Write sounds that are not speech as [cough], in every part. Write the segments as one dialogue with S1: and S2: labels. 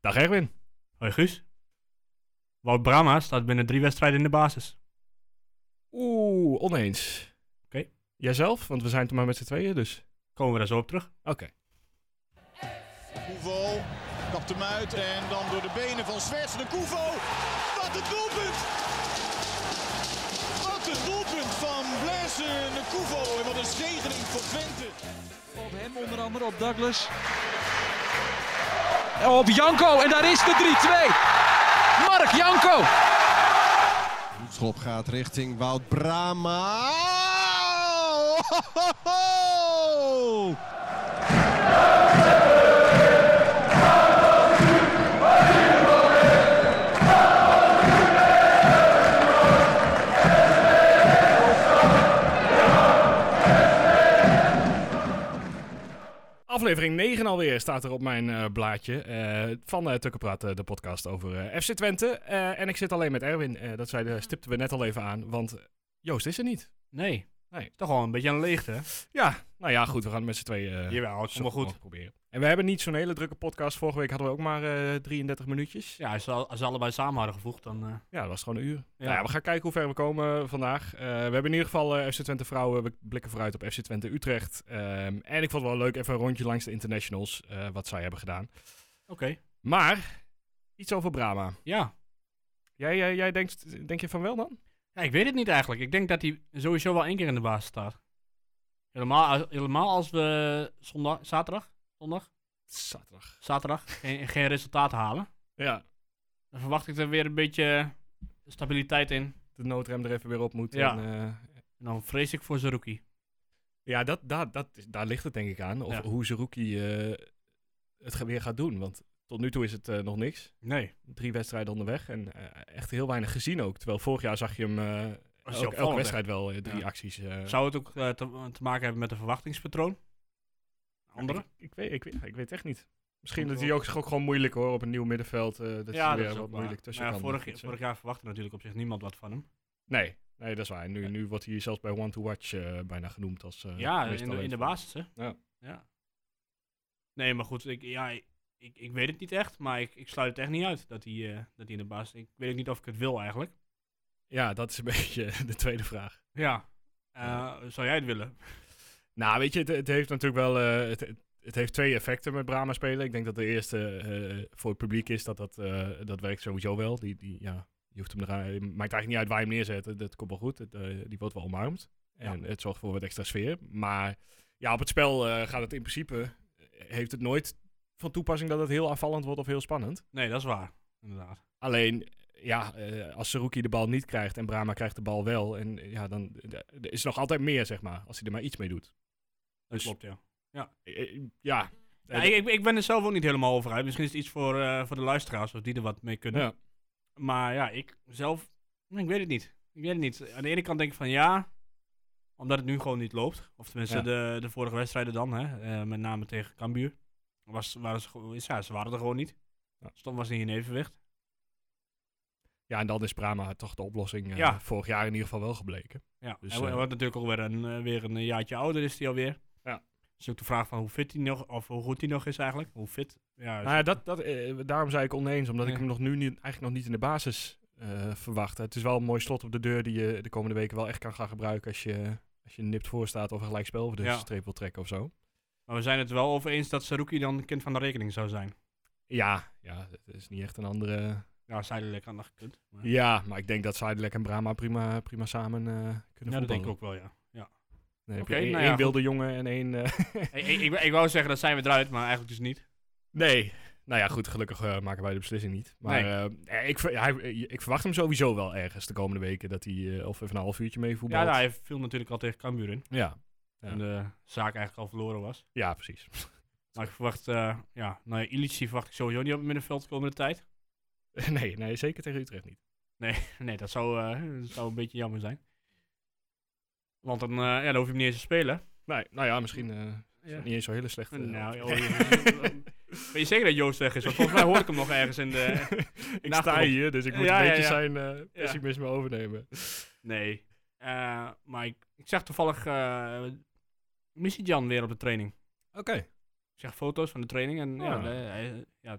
S1: Dag Erwin.
S2: Hoi Guus. Wout Brama staat binnen drie wedstrijden in de basis.
S1: Oeh, oneens.
S2: Oké.
S1: Jijzelf? Want we zijn er maar met z'n tweeën, dus...
S2: Komen we daar zo op terug.
S1: Oké.
S3: Koevo kapt hem uit en dan door de benen van Zwerts de Koevo. Wat een doelpunt! Wat een doelpunt van Blaise de Koevo en wat een zegening voor Twente.
S4: Op hem onder andere, op Douglas. En Op Janko en daar is de 3-2. Mark Janko.
S5: Schop gaat richting Wout Brama.
S1: Aflevering 9 alweer staat er op mijn eh, blaadje eh, van eh Tukkenpraat, eh, de podcast over eh, FC Twente. Eh, en ik zit alleen met Erwin. Eh, dat zei, de- stipten we net al even aan, want Joost is er niet.
S2: Nee.
S1: Nee.
S2: Toch wel een beetje een leegte. hè?
S1: Ja, nou ja, goed, we gaan het met z'n tweeën... eh,
S2: Jawel, het
S1: zo
S2: komt wel goed.
S1: mogelijk proberen. En we hebben niet zo'n hele drukke podcast. Vorige week hadden we ook maar eh, 33 minuutjes.
S2: Ja, als ze, al- als ze allebei samen hadden gevoegd, dan... eh,
S1: Ja, dat was gewoon een uur.
S2: Ja.
S1: Nou ja, we gaan kijken hoe ver we komen vandaag. Eh, we hebben in ieder geval eh, FC Twente Vrouwen. We blikken vooruit op FC Twente Utrecht. Ehm, en ik vond het wel leuk, even een rondje langs de internationals. eh, wat zij hebben gedaan.
S2: Oké.
S1: Maar, iets over Brama.
S2: Ja.
S1: Jij, jij, jij denkt, denk je van wel dan?
S2: ja. Ik weet het niet eigenlijk. Ik denk dat hij sowieso wel één keer in de basis staat. Helemaal, als- helemaal als we zondag, zaterdag, zondag,
S1: Zaterdag.
S2: zaterdag geen, geen resultaat halen.
S1: Ja,
S2: Dan verwacht ik er weer een beetje stabiliteit in.
S1: de noodrem er even weer op moet.
S2: Ja.
S1: En, eh,
S2: En dan vrees ik voor zijn rookie.
S1: ja dat, dat, dat, is- daar ligt het denk ik aan. Of
S2: Ja.
S1: hoe Zerouki eh, het ge- weer gaat doen. Want tot nu toe is het eh, nog niks.
S2: Nee.
S1: Drie wedstrijden onderweg. En eh, echt heel weinig gezien ook. Terwijl vorig jaar zag je hem... eh,
S2: Als
S1: elke, elke wedstrijd wel eh, drie
S2: Ja.
S1: acties. eh,
S2: Zou het ook eh, te, te maken hebben met een verwachtingspatroon? Andere?
S1: Ik, ik weet, ik, weet, ik weet echt niet. Misschien
S2: Komt
S1: dat hij
S2: wel.
S1: ook, ook gewoon moeilijk hoor op een nieuw middenveld. eh, dat hij weer wat
S2: waar.
S1: moeilijk tussen
S2: Maar Nou ja,
S1: kan.
S2: vorig,
S1: Dat is, eh,
S2: vorig jaar verwachtte natuurlijk op zich niemand wat van hem.
S1: Nee, nee, dat is waar. Nu, nu wordt hij zelfs bij One to Watch eh, bijna genoemd als. eh,
S2: ja,
S1: meest
S2: in de, in de
S1: talentvolle.
S2: basis, hè?
S1: Ja.
S2: Nee, maar goed, ik, ja, ik, ik, ik weet het niet echt, maar ik, ik sluit het echt niet uit dat hij, eh, dat hij in de basis... Ik weet ook niet of ik het wil eigenlijk.
S1: Ja, dat is een [laughs] beetje de tweede vraag.
S2: Ja. Eh, Zou jij het willen?
S1: Nou, weet je, het, het heeft natuurlijk wel. eh, het, het- het heeft twee effecten met Brahma spelen. Ik denk dat de eerste eh, voor het publiek is dat dat, eh, dat werkt sowieso wel. Die, die, ja, je hoeft hem eraan, maakt eigenlijk niet uit waar je hem neerzet. Dat komt wel goed. Het, eh, die wordt wel omarmd. En het zorgt voor wat extra sfeer. Maar ja, op het spel eh, gaat het in principe. eh, Heeft het nooit van toepassing dat het heel aanvallend wordt of heel spannend.
S2: Nee, dat is waar. Inderdaad.
S1: Alleen, ja, eh, als Saruki de bal niet krijgt en Brahma krijgt de bal wel, en eh, ja, dan eh, er is nog altijd meer, zeg maar, als hij er maar iets mee doet.
S2: Dat
S1: Dus,
S2: klopt, ja.
S1: eh, eh, ja.
S2: Ja, ik, ik- ik ben er zelf ook niet helemaal over uit. Misschien is het iets voor, eh, voor de luisteraars, of die er wat mee kunnen.
S1: Ja.
S2: Maar ja, ik zelf, ik weet het niet. Ik weet het niet. Aan de ene kant denk ik van ja, omdat het nu gewoon niet loopt. Of tenminste,
S1: Ja.
S2: de, de vorige wedstrijden dan, hè, eh, met name tegen Cambuur. Was, waren ze, gewoon- ja, ze waren er gewoon niet.
S1: Ja.
S2: Stond was niet in evenwicht.
S1: ja, en dan is Brahma toch de oplossing eh,
S2: Ja.
S1: vorig jaar in ieder geval wel gebleken.
S2: Ja,
S1: Dus,
S2: dus, hij wo-
S1: eh,
S2: wordt natuurlijk ook weer een, eh, weer een jaartje ouder is hij alweer.
S1: Ja.
S2: Dus ook de vraag van hoe fit hij nog, of hoe goed hij nog is eigenlijk. Hoe fit. Ja,
S1: Nou ja, dat, dat, eh, daarom zei ik oneens, omdat ik
S2: Ja.
S1: hem nog nu niet, eigenlijk nog niet in de basis eh, verwacht. Het is wel een mooi slot op de deur die je de komende weken wel echt kan gaan gebruiken als je, als je nipt voor staat of een gelijkspel over de
S2: Ja.
S1: streep wil trekken of zo.
S2: Maar we zijn het wel over eens dat Saruki dan een kind van de rekening zou zijn.
S1: Ja, ja, het is niet echt een andere...
S2: Ja, zijdelijk had nog gekund. maar-
S1: Ja, maar ik denk dat Zijdelijk en Brahma prima, prima samen eh, kunnen
S2: ja,
S1: voetballen.
S2: dat denk ik ook wel, ja. ja.
S1: Dan heb
S2: Oké,
S1: je één,
S2: nou ja,
S1: één wilde jongen en één... eh,
S2: ik, ik, ik, ik wou zeggen, dat zijn we eruit, maar eigenlijk dus niet.
S1: nee, nou ja, goed, gelukkig eh, maken wij de beslissing niet. Maar eh, ik, ver- hij, ik verwacht hem sowieso wel ergens de komende weken dat hij eh, of even een half uurtje mee voetbalt.
S2: Ja, nou, hij viel natuurlijk al tegen Cambuur in.
S1: ja. Ja.
S2: En de zaak eigenlijk al verloren was.
S1: ja, precies. [laughs]
S2: Maar ik verwacht, eh, ja, nou ja, Illici verwacht ik sowieso niet op het middenveld de komende tijd.
S1: nee, nee, zeker tegen Utrecht niet.
S2: Nee, dat zou, eh, dat zou een beetje jammer zijn. Want dan, eh, ja, dan hoef je hem niet eens te spelen.
S1: Nee, nou ja, misschien eh, is
S2: Ja.
S1: het niet eens zo hele slecht. eh,
S2: Nou,
S1: optie.
S2: joh,
S1: [laughs]
S2: Weet je zeker dat Joost weg is? Want volgens mij hoor ik hem nog ergens in
S1: [laughs]
S2: de...
S1: ik
S2: eh, nacht
S1: sta
S2: erop.
S1: hier, dus ik moet
S2: Ja,
S1: een
S2: ja,
S1: beetje
S2: ja.
S1: zijn eh, pessimisme overnemen.
S2: Nee. Eh, maar ik, ik zag toevallig eh Missy Jan weer op de training.
S1: Oké.
S2: Ik zag foto's van de training en ja,
S1: Ah.
S2: de- hij- ja,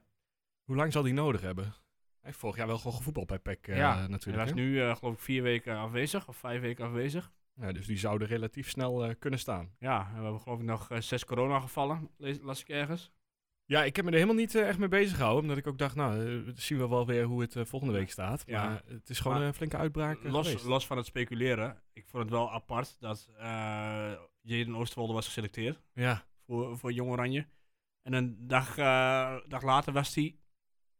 S1: Hoe lang zal die nodig hebben? Hij heeft vorig jaar wel gewoon gevoetbald bij PEC eh,
S2: Ja, Hij
S1: natuurlijk.
S2: was
S1: hè?
S2: nu eh, geloof ik vier weken afwezig of vijf weken afwezig.
S1: Ja, dus die zouden relatief snel eh, kunnen staan.
S2: Ja, en we hebben geloof ik nog eh, zes coronagevallen, lees- las ik ergens.
S1: Ja, ik heb me er helemaal niet eh, echt mee bezig gehouden. Omdat ik ook dacht, nou, eh, zien we wel weer hoe het eh, volgende week staat.
S2: Ja.
S1: Maar het is gewoon
S2: Maar
S1: een flinke uitbraak eh,
S2: Los,
S1: geweest.
S2: los van het speculeren, ik vond het wel apart dat eh Jaden Oosterwolde was geselecteerd.
S1: Ja,
S2: voor, voor Jong Oranje. En een dag, eh, dag later was hij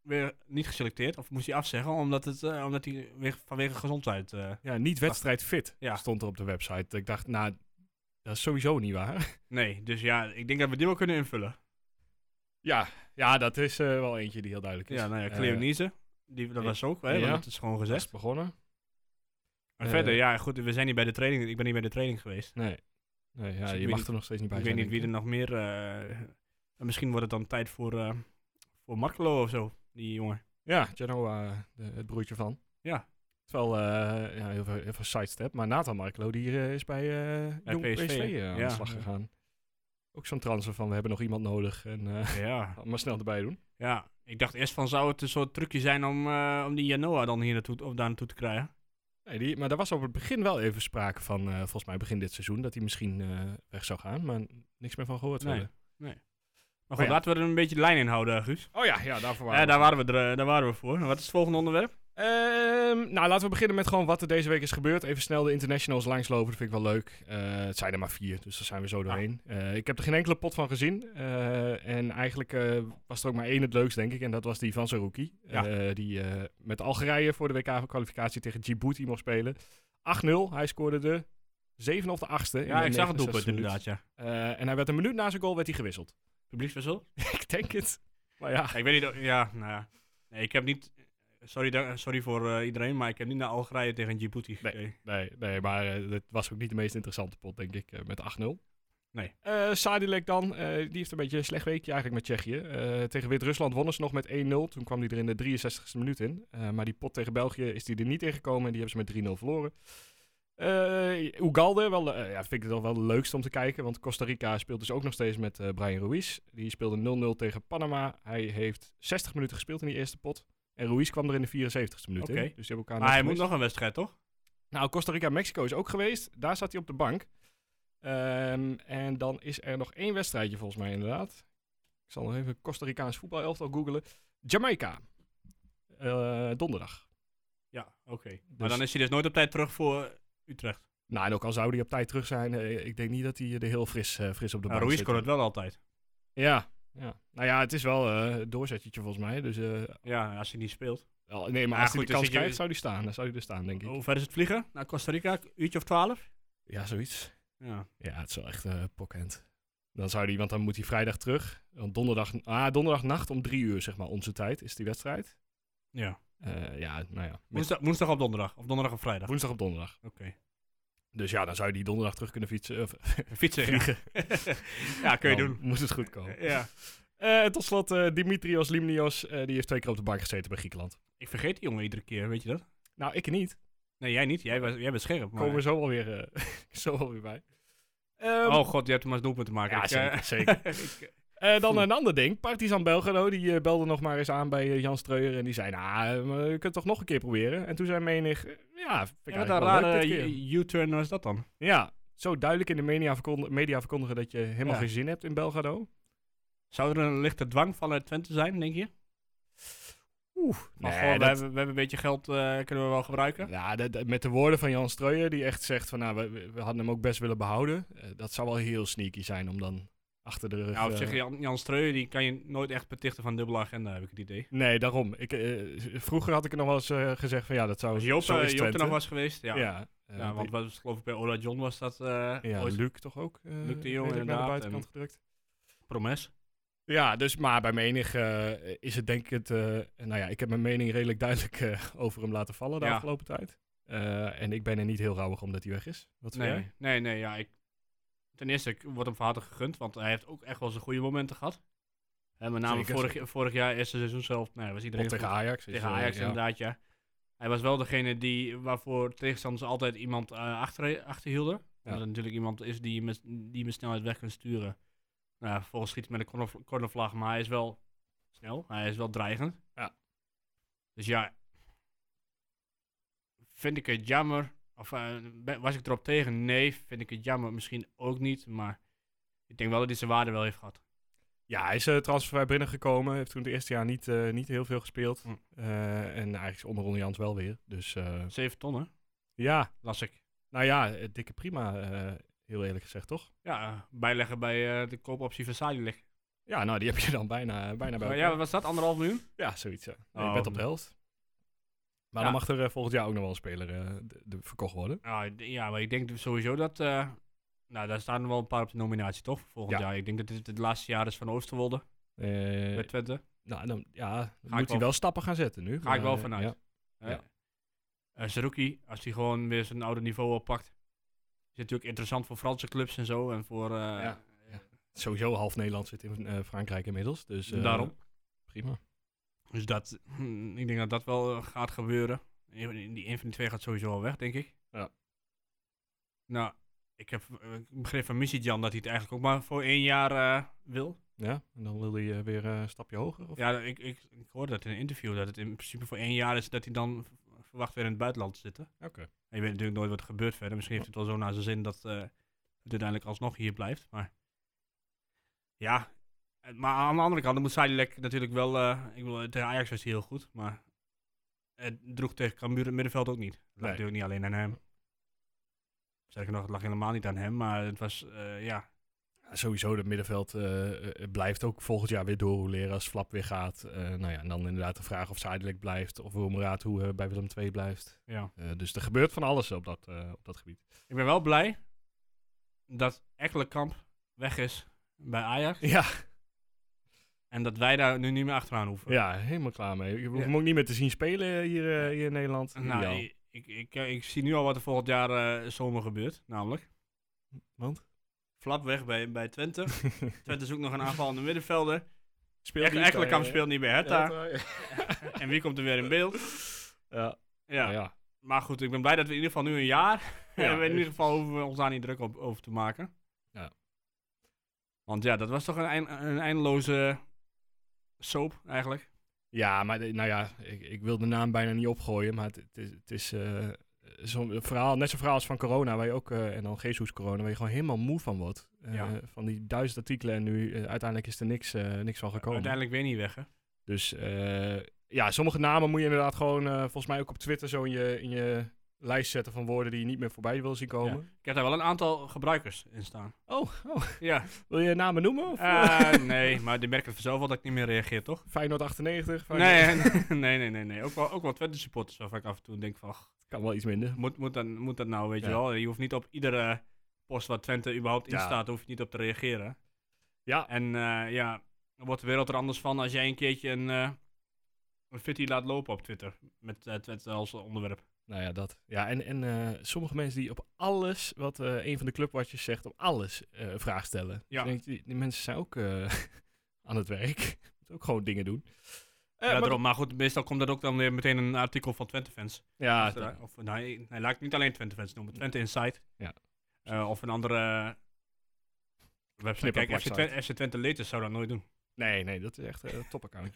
S2: weer niet geselecteerd, of moest hij afzeggen, omdat, het, eh, omdat hij weer vanwege gezondheid. eh,
S1: ja niet wedstrijdfit
S2: Ja.
S1: stond er op de website. Ik dacht, nou, dat is sowieso niet waar. [laughs]
S2: nee, dus ja, ik denk dat we die wel kunnen invullen.
S1: ja, ja, dat is eh, wel eentje die heel duidelijk is.
S2: Ja, nou ja,
S1: Eh,
S2: Cleonise, die, dat
S1: eh,
S2: was ook, hè,
S1: ja.
S2: want dat is gewoon
S1: dat is
S2: gezegd.
S1: begonnen.
S2: Maar
S1: eh,
S2: verder, ja, goed, we zijn niet bij de training, ik ben niet bij de training geweest.
S1: Nee, nee ja,
S2: Dus ik
S1: je
S2: weet
S1: mag
S2: niet-
S1: er nog steeds niet bij
S2: ik weet
S1: zijn,
S2: niet wie
S1: denk
S2: er nog meer... eh, en misschien wordt het dan tijd voor, eh voor Markelo of zo, die jongen.
S1: Ja, Genoa, de- het broertje van.
S2: Ja.
S1: Terwijl, eh, ja, heel veel, heel veel sidestep. Maar Nathan Marklo, die eh, is bij, eh
S2: Bij
S1: jong PSV,
S2: PSV,
S1: eh, aan
S2: ja.
S1: de slag gegaan. Ook zo'n transfer van, we hebben nog iemand nodig. En eh, [laughs]
S2: Ja,
S1: maar snel erbij doen.
S2: ja. Ik dacht eerst van, zou het een soort trucje zijn om, eh, om die Janoa dan hier naartoe, of daar naartoe te krijgen?
S1: Nee, die, maar daar was op het begin wel even sprake van, eh, volgens mij begin dit seizoen, dat hij misschien eh, weg zou gaan. Maar niks meer van gehoord
S2: Nee.
S1: verder.
S2: Maar
S1: Maar
S2: goed,
S1: Oh ja.
S2: laten we er een beetje de lijn in houden, Guus.
S1: Oh ja, ja daarvoor
S2: Ja, daar, waren we er, eh, daar waren we voor. Wat is het volgende onderwerp?
S1: Ehm, nou, laten we beginnen met gewoon wat er deze week is gebeurd. Even snel de internationals langslopen, dat vind ik wel leuk. Eh, het zijn er maar vier, dus daar zijn we zo doorheen.
S2: Ah.
S1: Eh, ik heb er geen enkele pot van gezien. Eh, en eigenlijk eh, was er ook maar één het leukst, denk ik. En dat was die van Saruki.
S2: Ja.
S1: Eh, die eh, met Algerije voor de WK-kwalificatie tegen Djibouti mocht spelen. 8-0, hij scoorde de zevende of de achtste. in
S2: Ja,
S1: de
S2: ik zag het
S1: 69e
S2: doelpunt
S1: minuut.
S2: inderdaad, ja.
S1: Eh, en hij werd een minuut na zijn goal werd hij
S2: [laughs]
S1: gewisseld.
S2: Publiekswissel?
S1: ik denk het. Maar ja,
S2: Ja, ik weet niet, of- ja, nou ja. Nee, ik heb niet, sorry, da- sorry voor eh, iedereen, maar ik heb niet naar Algerije tegen Djibouti gekeken.
S1: Nee, nee maar eh, dat was ook niet de meest interessante pot, denk ik, eh, met 8-0.
S2: Nee.
S1: Eh, Sadilek dan, eh, die heeft een beetje een slecht weekje eigenlijk met Tsjechië. Eh, tegen Wit-Rusland wonnen ze nog met 1-0. Toen kwam hij er in de 63ste minuut in. Eh, maar die pot tegen België is die er niet ingekomen en die hebben ze met 3-0 verloren. Eh Ugalde, wel, eh, ja, vind ik het wel het leukste om te kijken. Want Costa Rica speelt dus ook nog steeds met eh, Brian Ruiz. Die speelde 0-0 tegen Panama. Hij heeft 60 minuten gespeeld in die eerste pot. En Ruiz kwam er in de 74ste minuut
S2: Oké.
S1: in. Dus die hebben elkaar
S2: Maar hij moet
S1: gemist.
S2: nog een wedstrijd, toch?
S1: Nou, Costa Rica en Mexico is ook geweest. Daar zat hij op de bank. Ehm, en dan is er nog één wedstrijdje volgens mij inderdaad. Ik zal nog even Costa Ricaans voetbalelftal googelen. Jamaica. Eh, donderdag.
S2: Ja, oké. Maar
S1: Dus-
S2: dan is hij dus nooit op tijd terug voor eh, Utrecht.
S1: Nou, en ook al zou hij op tijd terug zijn, eh, ik denk niet dat hij er heel fris, eh, fris op de
S2: Nou,
S1: bank
S2: Ruiz
S1: zit.
S2: kon het wel altijd.
S1: Ja, ja. Nou ja, het is wel eh, een doorzettetje volgens mij. Dus, eh,
S2: Ja, als hij niet speelt.
S1: wel- nee, maar
S2: Ja,
S1: als
S2: goed,
S1: hij de
S2: dus
S1: kans
S2: dat je- Oh.
S1: krijgt, zou hij staan. Dan zou hij er staan, denk ik.
S2: Hoe ver is het vliegen? Naar Costa Rica, uurtje of twaalf?
S1: Ja, zoiets.
S2: Ja.
S1: Ja, het is wel echt eh pokkend. Dan zou die, want dan moet hij vrijdag terug. Want donderdag, ah, donderdagnacht om drie uur, zeg maar, onze tijd, is die wedstrijd.
S2: ja.
S1: Eh, ja, nou ja. met-
S2: Woensdag, woensdag op donderdag, of donderdag op vrijdag.
S1: woensdag op donderdag.
S2: Oké. [laughs]
S1: Dus ja, dan zou je die donderdag terug kunnen fietsen. Of,
S2: Fietsen, ja. [laughs] ja, kun je
S1: dan
S2: doen.
S1: Moet het goed komen.
S2: Ja.
S1: Eh, tot slot, eh, Dimitrios Limnios, eh, die heeft twee keer op de bank gezeten bij Griekenland.
S2: Ik vergeet die jongen iedere keer, weet je dat?
S1: Nou, ik niet.
S2: Nee, jij niet. Jij, was, jij bent scherp. Maar...
S1: Komen we zo wel weer, eh, [laughs] zo wel weer bij. Ehm,
S4: Eh,
S2: Oh god, je hebt hem als doelpunt te maken.
S1: ja,
S2: Ik,
S1: zeker.
S2: eh,
S1: zeker.
S2: [laughs] ik, eh,
S1: Eh, dan een ander ding. Partizan Belgrado, die eh, belde nog maar eens aan bij eh, Jan Streuer. En die zei, nou, eh, maar je kunt het toch nog een keer proberen. En toen zei menig, eh, ja, vind ik
S2: ja, wat een
S1: eigenlijk wel leuk
S2: rare
S1: dit keer.
S2: U- U-turn was dat dan?
S1: Ja, zo duidelijk in de media, verkondig- media verkondigen dat je helemaal
S2: Ja.
S1: geen zin hebt in Belgrado.
S2: Zou er een lichte dwang vanuit Twente zijn, denk je?
S1: Oeh,
S2: Van, goh, we, hebben, we hebben een beetje geld, eh, kunnen we wel gebruiken.
S1: ja, dat- dat- met de woorden van Jan Streuer, die echt zegt van, nou, we, we- we hadden hem ook best willen behouden. Eh, dat zou wel heel sneaky zijn om dan achter de rug...
S2: Nou, op
S1: eh,
S2: zich, Jan, Jan Streuer, die kan je nooit echt betichten van dubbele agenda, heb ik het idee.
S1: Nee, daarom. Ik, eh, vroeger had ik er nog wel eens eh, gezegd van, ja, dat zou...
S2: Als Joop,
S1: zo
S2: eh,
S1: is
S2: Joop er
S1: Twente.
S2: nog was geweest, ja.
S1: Ja,
S2: ja.
S1: eh,
S2: want wat was, geloof ik bij Ola John was dat eh
S1: Ja,
S2: ooit
S1: Luc toch ook? eh,
S2: Luc de
S1: redelijk
S2: Jong
S1: naar de
S2: inderdaad,
S1: buitenkant
S2: en-
S1: gedrukt.
S2: promes.
S1: Ja, dus maar bij menig eh, is het denk ik het... eh, nou ja, ik heb mijn mening redelijk duidelijk eh, over hem laten vallen de
S2: Ja.
S1: afgelopen tijd. Eh, en ik ben er niet heel rauwig om dat hij weg is. Wat vind
S2: Nee,
S1: jij?
S2: nee, nee, ja. Ik, ten eerste, ik word hem van harte gegund, want hij heeft ook echt wel zijn goede momenten gehad. Hè, met name
S1: Zeker,
S2: vorig,
S1: zeker.
S2: vorig jaar, eerste seizoen zelf, nee, was iedereen
S1: Want tegen
S2: goed.
S1: Ajax. is,
S2: tegen
S1: eh,
S2: Ajax
S1: ja.
S2: inderdaad, ja. Hij was wel degene die, waarvoor tegenstanders altijd iemand eh, achter, achterhielden. Omdat het natuurlijk iemand is die je met, die je met snelheid weg kan sturen. Nou, volgens schiet hij met een corner- cornervlag, maar hij is wel snel. Hij is wel dreigend.
S1: Ja.
S2: Dus ja, vind ik het jammer. Of eh, ben- was ik erop tegen? Nee, vind ik het jammer. Misschien ook niet, maar ik denk wel dat hij zijn waarde wel heeft gehad.
S1: Ja, hij is eh, transfervrij binnengekomen. Heeft toen het eerste jaar niet, eh, niet heel veel gespeeld.
S2: Hm.
S1: Eh, en eigenlijk is onder Ronnie Jans wel weer. Dus eh,
S2: 7 ton, hè?
S1: ja,
S2: Las ik.
S1: nou ja, eh, dikke prima. eh, heel eerlijk gezegd, toch?
S2: Ja, eh, bijleggen bij eh, de koopoptie van Sadilek.
S1: Ja, nou, die heb je dan bijna, bijna bij
S2: Maar
S1: elkaar.
S2: Nou ja, wat was dat? Anderhalf miljoen?
S1: Ja, zoiets. Ja.
S2: Oh.
S1: Je bent op de helft. Maar
S2: Ja.
S1: dan mag er eh, volgend jaar ook nog wel een speler eh, d- d- verkocht worden.
S2: Nou, ik d- ja, maar ik denk sowieso dat... eh, nou, daar staan er wel een paar op de nominatie, toch? Volgend
S1: Ja.
S2: jaar. Ik denk dat dit het laatste jaar is van Oosterwolde.
S1: Eh,
S2: Bij Twente.
S1: nou, dan, ja, dan
S2: ik
S1: moet hij
S2: wel-
S1: wel stappen gaan zetten nu.
S2: Ga ik wel
S1: eh,
S2: vanuit.
S1: ja.
S2: Hè?
S1: Ja.
S2: Eh, Saruki, als hij gewoon weer zijn oude niveau oppakt. Is natuurlijk interessant voor Franse clubs en zo. En voor... eh,
S1: Ja, Sowieso half Nederland zit in eh, Frankrijk inmiddels. Dus, eh,
S2: Daarom.
S1: Prima.
S2: Dus dat... hm, ik denk dat dat wel eh, gaat gebeuren. Een- Die een van die twee gaat sowieso al weg, denk ik.
S1: Ja.
S2: Nou, ik heb eh, ik begreep van Jan dat hij het eigenlijk ook maar voor één jaar eh, wil.
S1: Ja, en dan wil hij eh, weer eh, een stapje hoger? Of?
S2: Ja, ik, ik, ik hoorde dat in een interview. Dat het in principe voor één jaar is dat hij dan v- verwacht weer in het buitenland te zitten.
S1: Oké.
S2: En je weet natuurlijk nooit wat er gebeurt verder. Misschien heeft het wel zo naar zijn zin dat eh, het uiteindelijk alsnog hier blijft. Maar ja, eh, maar aan de andere kant dan moet Sadilek natuurlijk wel... eh, ik bedoel, tegen Ajax was hij heel goed, maar het droeg tegen Cambuur het middenveld ook niet. Het lag
S1: Nee.
S2: natuurlijk niet alleen aan hem. Sterker nog, het lag helemaal niet aan hem, maar het was, eh, ja...
S1: Ja, sowieso, het middenveld eh, eh, blijft ook volgend jaar weer doorroleren als Flap weer gaat. Eh, nou ja, en dan inderdaad de vraag of Zijdelijk blijft of Wilmeraad hoe eh, bij Willem II blijft.
S2: ja.
S1: Eh, dus er gebeurt van alles op dat, eh, op dat gebied.
S2: Ik ben wel blij dat Ekkelenkamp weg is bij Ajax.
S1: Ja,
S2: En dat wij daar nu niet meer achteraan hoeven.
S1: ja helemaal klaar mee. Je hoeft
S2: Ja.
S1: hem ook niet meer te zien spelen hier, eh, hier in Nederland.
S2: Nou,
S1: Ideaal.
S2: ik, ik, ik, ik zie nu al wat er volgend jaar eh, zomer gebeurt, namelijk.
S1: Want?
S2: Flap weg bij,
S1: [laughs]
S2: bij Twente. Twente zoekt nog een aanvallende middenvelder.
S1: Speel
S2: Ek- Ekkelenkamp speelt niet bij Hertha.
S1: Ja,
S2: [laughs] En wie komt er weer in beeld?
S1: ja.
S2: Ja. Maar goed, ik ben blij dat we in ieder geval nu een jaar... [laughs]
S1: Ja,
S2: en we in ieder
S1: dus-
S2: geval hoeven we ons daar niet druk op, over te maken.
S1: Ja.
S2: Want ja, dat was toch een, eind- een eindeloze soap eigenlijk.
S1: Ja, maar de- nou ja, ik, ik wil de naam bijna niet opgooien, maar het, het is, het is eh, zo'n verhaal, net zo'n verhaal als van corona, waar je ook, eh, en dan Jezus corona, waar je gewoon helemaal moe van wordt. Eh,
S2: Ja.
S1: Van die duizend artikelen en nu eh, uiteindelijk is er niks, eh, niks van gekomen.
S2: Uiteindelijk weer niet weg, hè?
S1: Dus eh, ja, sommige namen moet je inderdaad gewoon, eh, volgens mij ook op Twitter, zo in je, in je lijst zetten van woorden die je niet meer voorbij wil zien komen.
S2: Ik heb daar wel een aantal gebruikers in staan.
S1: Oh, oh, [laughs]
S2: Ja.
S1: wil je namen noemen? Of,
S2: Eh, nee, maar die merken het vanzelf wel dat ik niet meer reageer, toch?
S1: Feyenoord 98? Feyenoord-
S2: Nee, [laughs] nee, nee, nee, nee. Ook wel, ook wel Twente supporters waarvan ik af en toe denk van, ach,
S1: Kan wel iets minder.
S2: moet, moet, dat, moet dat nou, weet je
S1: Ja.
S2: wel? Je hoeft niet op iedere post waar Twente überhaupt in
S1: Ja.
S2: staat, hoef je niet op te reageren.
S1: Ja.
S2: En eh, ja, dan wordt de wereld er anders van als jij een keertje een, eh een fitty laat lopen op Twitter. Met eh, Twente als onderwerp.
S1: Nou ja, dat. Ja, en, en eh, sommige mensen die op alles wat eh, een van de clubwatjes zegt, op alles eh, een vraag stellen. Dus
S2: Ja.
S1: ik denk, die, die mensen zijn ook eh, [laughs] aan het werk. [laughs] Moeten ook gewoon dingen doen. Eh,
S2: ja,
S1: maar-
S2: daarom. Maar goed, meestal komt dat ook dan weer meteen een artikel van Twente-fans.
S1: Ja,
S2: Of, eh, of, nee, nee, laat ik niet alleen Twente fans noemen. Twente Insight.
S1: Ja.
S2: Eh, of een andere eh, website.
S1: Flip-up
S2: Kijk, FC
S1: website.
S2: Twente, FC Twente Latest zou dat nooit doen. [laughs]
S1: nee, nee, dat is echt een topaccount.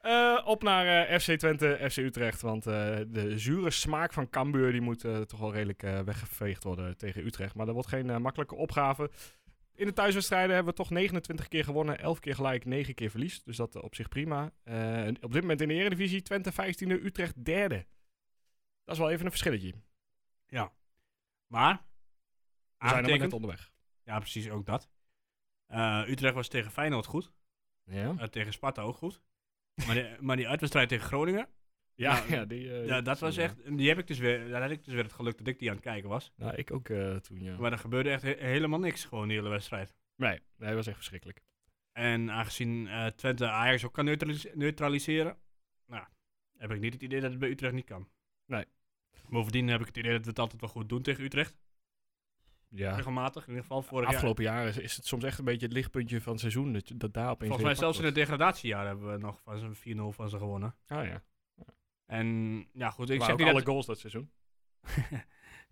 S1: Eh, op naar eh, FC Twente, FC Utrecht. Want eh, de zure smaak van Cambuur die moet eh, toch wel redelijk eh, weggeveegd worden tegen Utrecht. Maar dat wordt geen eh, makkelijke opgave. In de thuiswedstrijden hebben we toch 29 keer gewonnen, 11 keer gelijk, 9 keer verlies. Dus dat eh, op zich prima. Eh, en op dit moment in de Eredivisie Twente 15e, Utrecht derde. Dat is wel even een verschilletje. We
S2: maar,
S1: zijn nog maar net
S2: aangetekend.
S1: onderweg.
S2: Ja, precies, ook dat. Eh, Utrecht was tegen Feyenoord goed.
S1: Ja,
S2: Eh, tegen Sparta ook goed. Maar die, maar die uitwedstrijd tegen
S1: [laughs]
S2: Groningen,
S1: ja,
S2: nou,
S1: ja, die, eh,
S2: ja, dat was
S1: sorry.
S2: echt, die heb ik dus weer, daar had ik dus weer het geluk dat ik die aan het kijken was.
S1: Nou, ik ook eh, toen, ja.
S2: Maar er gebeurde echt he- helemaal niks, gewoon die hele wedstrijd.
S1: Nee, nee, dat was echt verschrikkelijk.
S2: En aangezien eh, Twente Ajax ook kan neutralis- neutraliseren, nou, heb ik niet het idee dat het bij Utrecht niet kan.
S1: Nee.
S2: Bovendien heb ik het idee dat we het altijd wel goed doen tegen Utrecht.
S1: Ja.
S2: Regelmatig, in ieder geval vorig jaar.
S1: afgelopen jaren is, is het soms echt een beetje het lichtpuntje van het seizoen. Dat, je- dat daar opeens
S2: Volgens
S1: weer
S2: mij zelfs in het
S1: gepakt
S2: degradatiejaar hebben we nog van zijn 4-0 van ze gewonnen.
S1: wordt. Ah ja.
S2: En ja, goed, ik
S1: Maar
S2: zeg
S1: ook
S2: niet
S1: alle
S2: dat... [laughs]
S1: goals dat seizoen.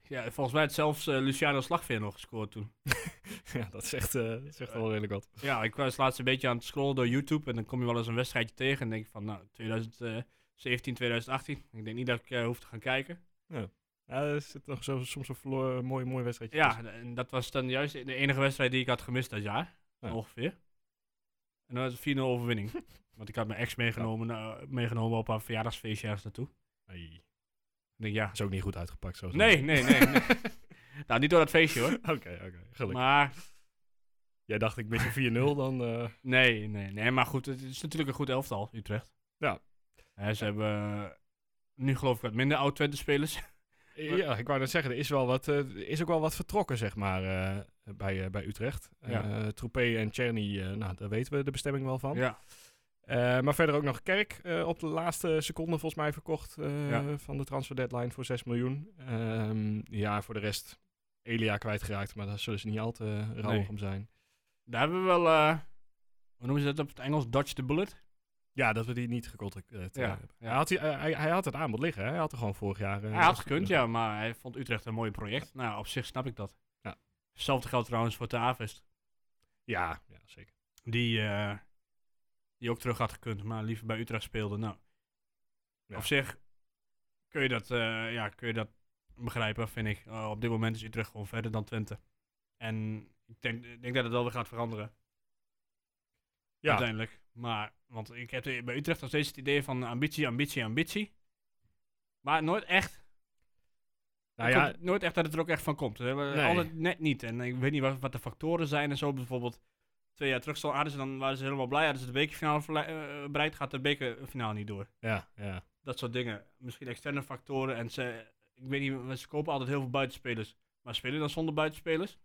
S2: Ja, volgens mij had zelfs eh, Luciano Slagveer nog gescoord toen.
S1: [laughs] ja, dat is echt, eh, dat is echt wel redelijk wat.
S2: Ja, ik was laatst een beetje aan het scrollen door YouTube en dan kom je wel eens een wedstrijdje tegen en denk ik van, nou, 2017, 2018. Ik denk niet dat ik eh, hoef te gaan kijken.
S1: Ja, er zit nog zo, soms een verloor- mooi, mooi wedstrijdje
S2: Ja,
S1: tussen.
S2: en- en dat was dan juist de enige wedstrijd die ik had gemist dat jaar,
S1: Ja.
S2: ongeveer. En dat was een 4-0
S1: [laughs]
S2: overwinning. Want ik had mijn ex meegenomen, eh, meegenomen op haar verjaardagsfeestje ergens naartoe.
S1: Ai,
S2: Ik denk, ja,
S1: dat is ook niet goed uitgepakt. Zo
S2: nee, nee,
S1: [laughs]
S2: nee. nee. nou, niet door dat feestje hoor.
S1: Oké, oké. Gelukkig.
S2: Maar
S1: Jij dacht ik mis een 4-0 [laughs] dan... eh,
S2: nee, nee, nee. Maar goed, het is natuurlijk een goed elftal, Utrecht.
S1: Ja.
S2: Hè, ze hebben eh, nu geloof ik wat minder oud-Twente spelers. Maar-
S1: Ja, ik wou net zeggen, er is, wel wat, eh, er is ook wel wat vertrokken, zeg maar, eh, bij, eh, bij Utrecht.
S2: Ja.
S1: Eh, Troepé en Czerny, eh, nou, daar weten we de bestemming wel van.
S2: Ja.
S1: Eh, maar verder ook nog Kerk, eh, op de laatste seconde volgens mij verkocht eh,
S2: Ja.
S1: van de transfer deadline voor 6 miljoen. Ehm, ja, voor de rest Elia kwijtgeraakt, maar daar zullen ze niet al te eh, rouwig
S2: Nee.
S1: om zijn.
S2: Daar hebben we wel, eh, hoe noemen ze dat op het Engels? Dodge the bullet?
S1: Ja, dat we die niet gecontracteerd
S2: Ja,
S1: hebben.
S2: ja.
S1: Hij, had die, eh, hij, hij had het aanbod liggen, hè? hij had er gewoon vorig jaar... eh,
S2: hij had
S1: als-
S2: gekund, ja, maar hij vond Utrecht een mooi project. Nou, op zich snap ik dat.
S1: Ja.
S2: Hetzelfde geldt trouwens voor Tavest.
S1: Ja, ja, zeker.
S2: Die, eh, die ook terug had gekund, maar liever bij Utrecht speelde. Nou,
S1: Ja.
S2: op zich kun je, dat, eh, ja, kun je dat begrijpen, vind ik. Eh, op dit moment is Utrecht gewoon verder dan Twente. En ik denk, ik denk dat het wel weer gaat veranderen,
S1: Ja,
S2: uiteindelijk. Maar, want ik heb bij Utrecht nog steeds het idee van ambitie, ambitie, ambitie. Maar nooit echt
S1: nou
S2: ik
S1: ja,
S2: hoop nooit echt dat het er ook echt van komt. Ze hebben
S1: Nee.
S2: Altijd net niet. En ik weet niet wat, wat de factoren zijn en zo. Bijvoorbeeld twee jaar terug zo- hadden ze dan, waren ze helemaal blij. Hadden ze de bekerfinale verle- eh, bereikt, gaat de bekerfinale niet door.
S1: ja, ja.
S2: Dat soort dingen. Misschien externe factoren. En ze, ik weet niet, want ze kopen altijd heel veel buitenspelers. Maar spelen dan zonder buitenspelers?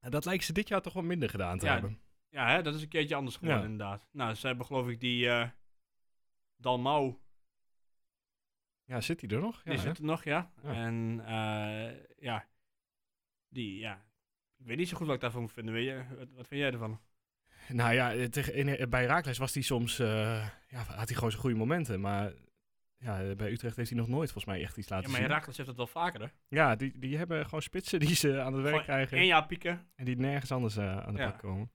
S1: En dat lijkt ze dit jaar toch wat minder gedaan te
S2: Ja,
S1: hebben.
S2: Ja, hè, dat is een keertje anders geworden
S1: Ja.
S2: inderdaad. Nou, ze hebben geloof ik die eh Dalmau.
S1: Ja, zit hij er nog? Ja,
S2: die
S1: hè?
S2: zit er nog, ja.
S1: Ja.
S2: En eh, ja, die, ja. Ik weet niet zo goed wat ik daarvan moet vinden. Weet je, wat, wat vind jij ervan?
S1: Nou ja, eh, tegen- in, eh, bij Raakles was hij soms... eh, ja, had hij gewoon zijn goede momenten, maar... Ja, eh, bij Utrecht heeft hij nog nooit volgens mij echt iets
S2: Ja,
S1: laten
S2: maar
S1: zien.
S2: Herakles heeft dat wel vaker, hè?
S1: Ja, die, die hebben gewoon spitsen die ze aan het werk
S2: Gewoon
S1: krijgen.
S2: Eén jaar pieken.
S1: En die nergens anders eh, aan de
S2: Ja.
S1: bak komen.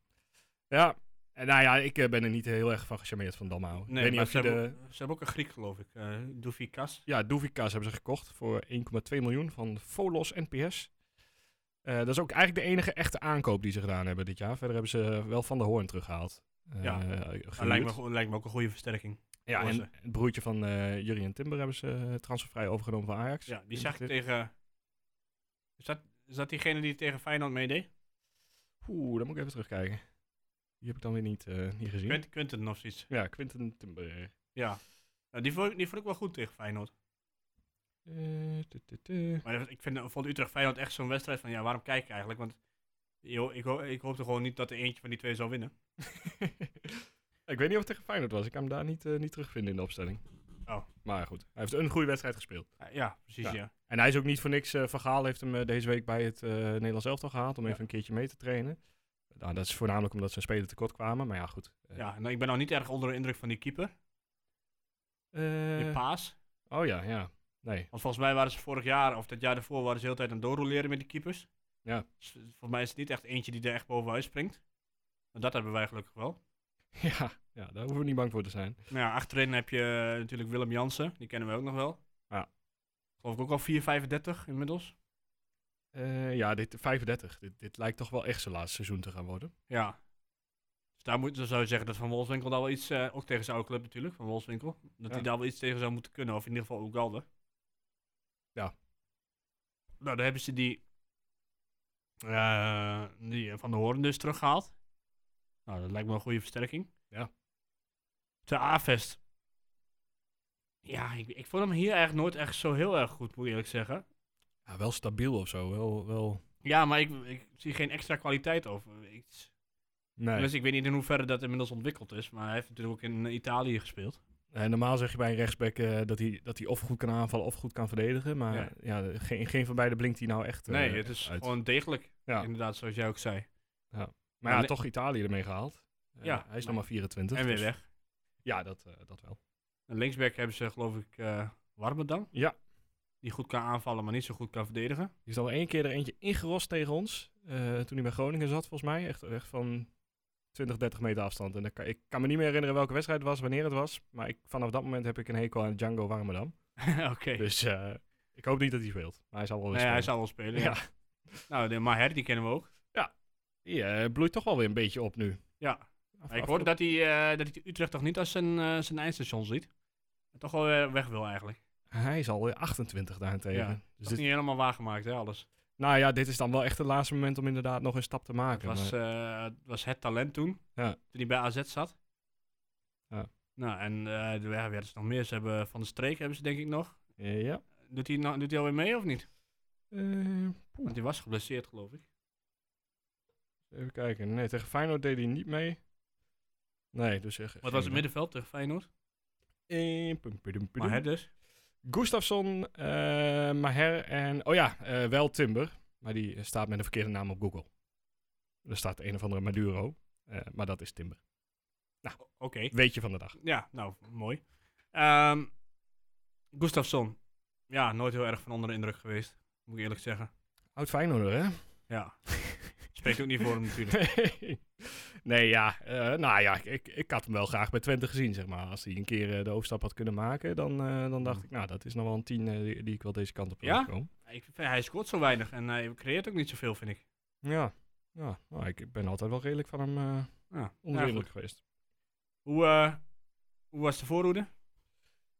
S1: Ja, en nou ja, ik eh, ben er niet heel erg van gecharmeerd van Dalmau. ik
S2: Nee,
S1: weet niet
S2: maar
S1: of
S2: ze,
S1: je
S2: hebben,
S1: de...
S2: ook- ze hebben ook een Griek, geloof ik. eh Doefikas.
S1: Ja, Doevikas hebben ze gekocht voor 1,2 miljoen van Volos NPS. Eh, dat is ook eigenlijk de enige echte aankoop die ze gedaan hebben dit jaar. Verder hebben ze wel Van der Hoorn teruggehaald. Eh,
S2: Ja.
S1: gehuurd.
S2: Dat Nou, lijkt me, go- lijkt me ook een goede versterking.
S1: ja,
S2: voor
S1: en
S2: ze.
S1: het broertje van eh Jurien Timber hebben ze eh, transfervrij overgenomen van Ajax. Dus
S2: Ja, die zag ik tegen... Is dat, is dat diegene die tegen Feyenoord meedeed?
S1: Oeh, dan moet ik even terugkijken. Die heb ik dan weer niet, eh, niet gezien.
S2: Quint, Quinten of zoiets.
S1: Ja, Quinten Timber.
S2: Ja. Nou, die, vond, ik- die vond ik wel goed tegen Feyenoord.
S1: Eh, tu, tu, tu. [laughs]
S2: Maar dat- ik vind, vond Utrecht-Feyenoord echt zo'n wedstrijd van... Ja, waarom kijk ik eigenlijk? Want ik, ho- ik, ho- ik hoopte gewoon niet dat er eentje van die twee zou winnen.
S1: ik weet niet of het tegen Feyenoord was. Ik kan hem daar niet, eh, niet terugvinden in de opstelling.
S2: Oh.
S1: Maar goed, hij heeft een goede wedstrijd gespeeld.
S2: Ah, Ja, precies,
S1: Ja.
S2: ja.
S1: En hij is ook niet voor niks. eh Van Gaal heeft hem eh, deze week bij het eh, Nederlands elftal gehaald om
S2: Ja.
S1: even een keertje mee te trainen. Nou, dat is voornamelijk omdat zijn spelen tekort kwamen, maar ja, goed. Eh,
S2: Ja, nou, ik ben nog niet erg onder de indruk van die keeper.
S1: eh,
S2: Die paas.
S1: oh ja, ja. Nee.
S2: Want volgens mij waren ze vorig jaar, of dat jaar daarvoor, waren ze de hele tijd aan het doorrolleren met die keepers.
S1: Ja.
S2: Dus volgens mij is het niet echt eentje die er echt bovenuit springt. Maar dat hebben wij gelukkig wel.
S1: [laughs] ja, ja, daar hoeven we niet bang voor te zijn.
S2: Nou ja, achterin heb je eh, natuurlijk Willem Jansen. Die kennen we ook nog wel.
S1: Ja.
S2: Geloof ik ook al 4,35 inmiddels.
S1: Eh, ja, dit 35. Dit, dit lijkt toch wel echt zijn laatste seizoen te gaan worden.
S2: Ja. Dus daar moet, dan zou je zeggen dat Van Wolfswinkel daar wel iets, eh, ook tegen zijn oude club natuurlijk, Van Wolfswinkel. Dat
S1: Ja.
S2: hij daar wel iets tegen zou moeten kunnen, of in ieder geval Ugalde.
S1: Ja.
S2: Nou, daar hebben ze die, eh, die eh, Van de Hoorn dus teruggehaald. Nou, dat lijkt me een goede versterking.
S1: Ja.
S2: Te Avest. Ja, ik, ik vond hem hier eigenlijk nooit echt zo heel erg goed, moet ik eerlijk zeggen.
S1: Ja, wel stabiel of zo. Wel, wel...
S2: Ja, maar ik, ik zie geen extra kwaliteit over. Ik,
S1: Nee.
S2: dus ik weet niet in hoeverre dat inmiddels ontwikkeld is, maar hij heeft natuurlijk ook in eh, Italië gespeeld.
S1: Eh, normaal zeg je bij een rechtsback eh, dat, hij, dat hij of goed kan aanvallen of goed kan verdedigen. Maar ja.
S2: Ja.
S1: geen, geen van beide blinkt hij nou echt. eh,
S2: nee, het is
S1: uit.
S2: gewoon degelijk,
S1: Ja.
S2: inderdaad, zoals jij ook zei.
S1: Maar ja,
S2: Nee.
S1: toch Italië ermee gehaald. Eh,
S2: Ja,
S1: hij is nog
S2: maar-
S1: maar 24.
S2: en weer
S1: dus-
S2: weg.
S1: Ja, dat, eh, dat wel.
S2: En linksback hebben ze geloof ik eh Warmerdam.
S1: Ja.
S2: Die goed kan aanvallen, maar niet zo goed kan verdedigen. [laughs]
S1: Die is al één keer er eentje ingerost tegen ons. eh, toen hij bij Groningen zat, volgens mij. Echt, echt van 20, 30 meter afstand. En dan kan, ik kan me niet meer herinneren welke wedstrijd het was, wanneer het was. Maar ik, vanaf dat moment heb ik een hekel aan Django Warmerdam.
S2: Oké.
S1: Dus eh, ik hoop niet dat hij speelt. Maar hij zal wel weer
S2: Nee, hij
S1: spelen.
S2: zal wel spelen.
S1: Ja.
S2: Ja. Nou, de Maher, die kennen we ook.
S1: Die eh, bloeit toch wel weer een beetje op nu.
S2: Ja.
S1: Af-
S2: ik
S1: af-
S2: hoorde dat hij, eh, dat hij Utrecht toch niet als zijn, eh, zijn eindstation ziet. En toch wel weer weg wil eigenlijk.
S1: Hij is alweer 28 daarentegen.
S2: Ja,
S1: dus
S2: Dat is
S1: dit,
S2: niet helemaal waargemaakt, hè, alles.
S1: nou ja, dit is dan wel echt het laatste moment om inderdaad nog een stap te maken.
S2: Het was,
S1: maar-
S2: eh, het was het talent toen.
S1: Ja.
S2: Toen hij bij AZ zat.
S1: Ja.
S2: Nou, en eh er werden ze nog meer. Ze hebben Van de Streek hebben ze denk ik nog.
S1: Eh, ja.
S2: Doet hij, nou, doet hij alweer mee of niet?
S1: Eh,
S2: Want hij was geblesseerd, geloof ik.
S1: even kijken. Nee, tegen Feyenoord deed hij niet mee. Nee, dus echt.
S2: Wat was het middenveld tegen Feyenoord? Maar hè,
S1: midden?
S2: dus.
S1: Gustafsson, eh, Maher en. Oh ja, eh, wel Timber. Maar die staat met een verkeerde naam op Google. Er staat een of andere Maduro. eh, maar dat is Timber. Nou.
S2: Oké.
S1: Weet je van de dag.
S2: Ja, nou, mooi. Ehm Gustafsson. Ja, nooit heel erg van onder de indruk geweest. Moet ik eerlijk zeggen.
S1: Oud Feyenoorder, hè?
S2: Ja. Spreekt ook niet voor hem natuurlijk.
S1: Nee. [laughs] nee, ja. eh, nou ja, ik, ik had hem wel graag bij Twente gezien, zeg maar. Als hij een keer eh, de overstap had kunnen maken, dan, eh, dan dacht ik, nou, dat is nog wel een tien eh, die, die ik wel deze kant op wil
S2: Ja?
S1: komen.
S2: Ik vind, hij scoort zo weinig en eh, hij creëert ook niet zoveel, vind ik.
S1: Ja. Ja, nou, ik ben altijd wel redelijk van hem eh
S2: Ja,
S1: onder de
S2: ja,
S1: indruk
S2: goed.
S1: geweest.
S2: Hoe, eh, hoe was de voorhoede?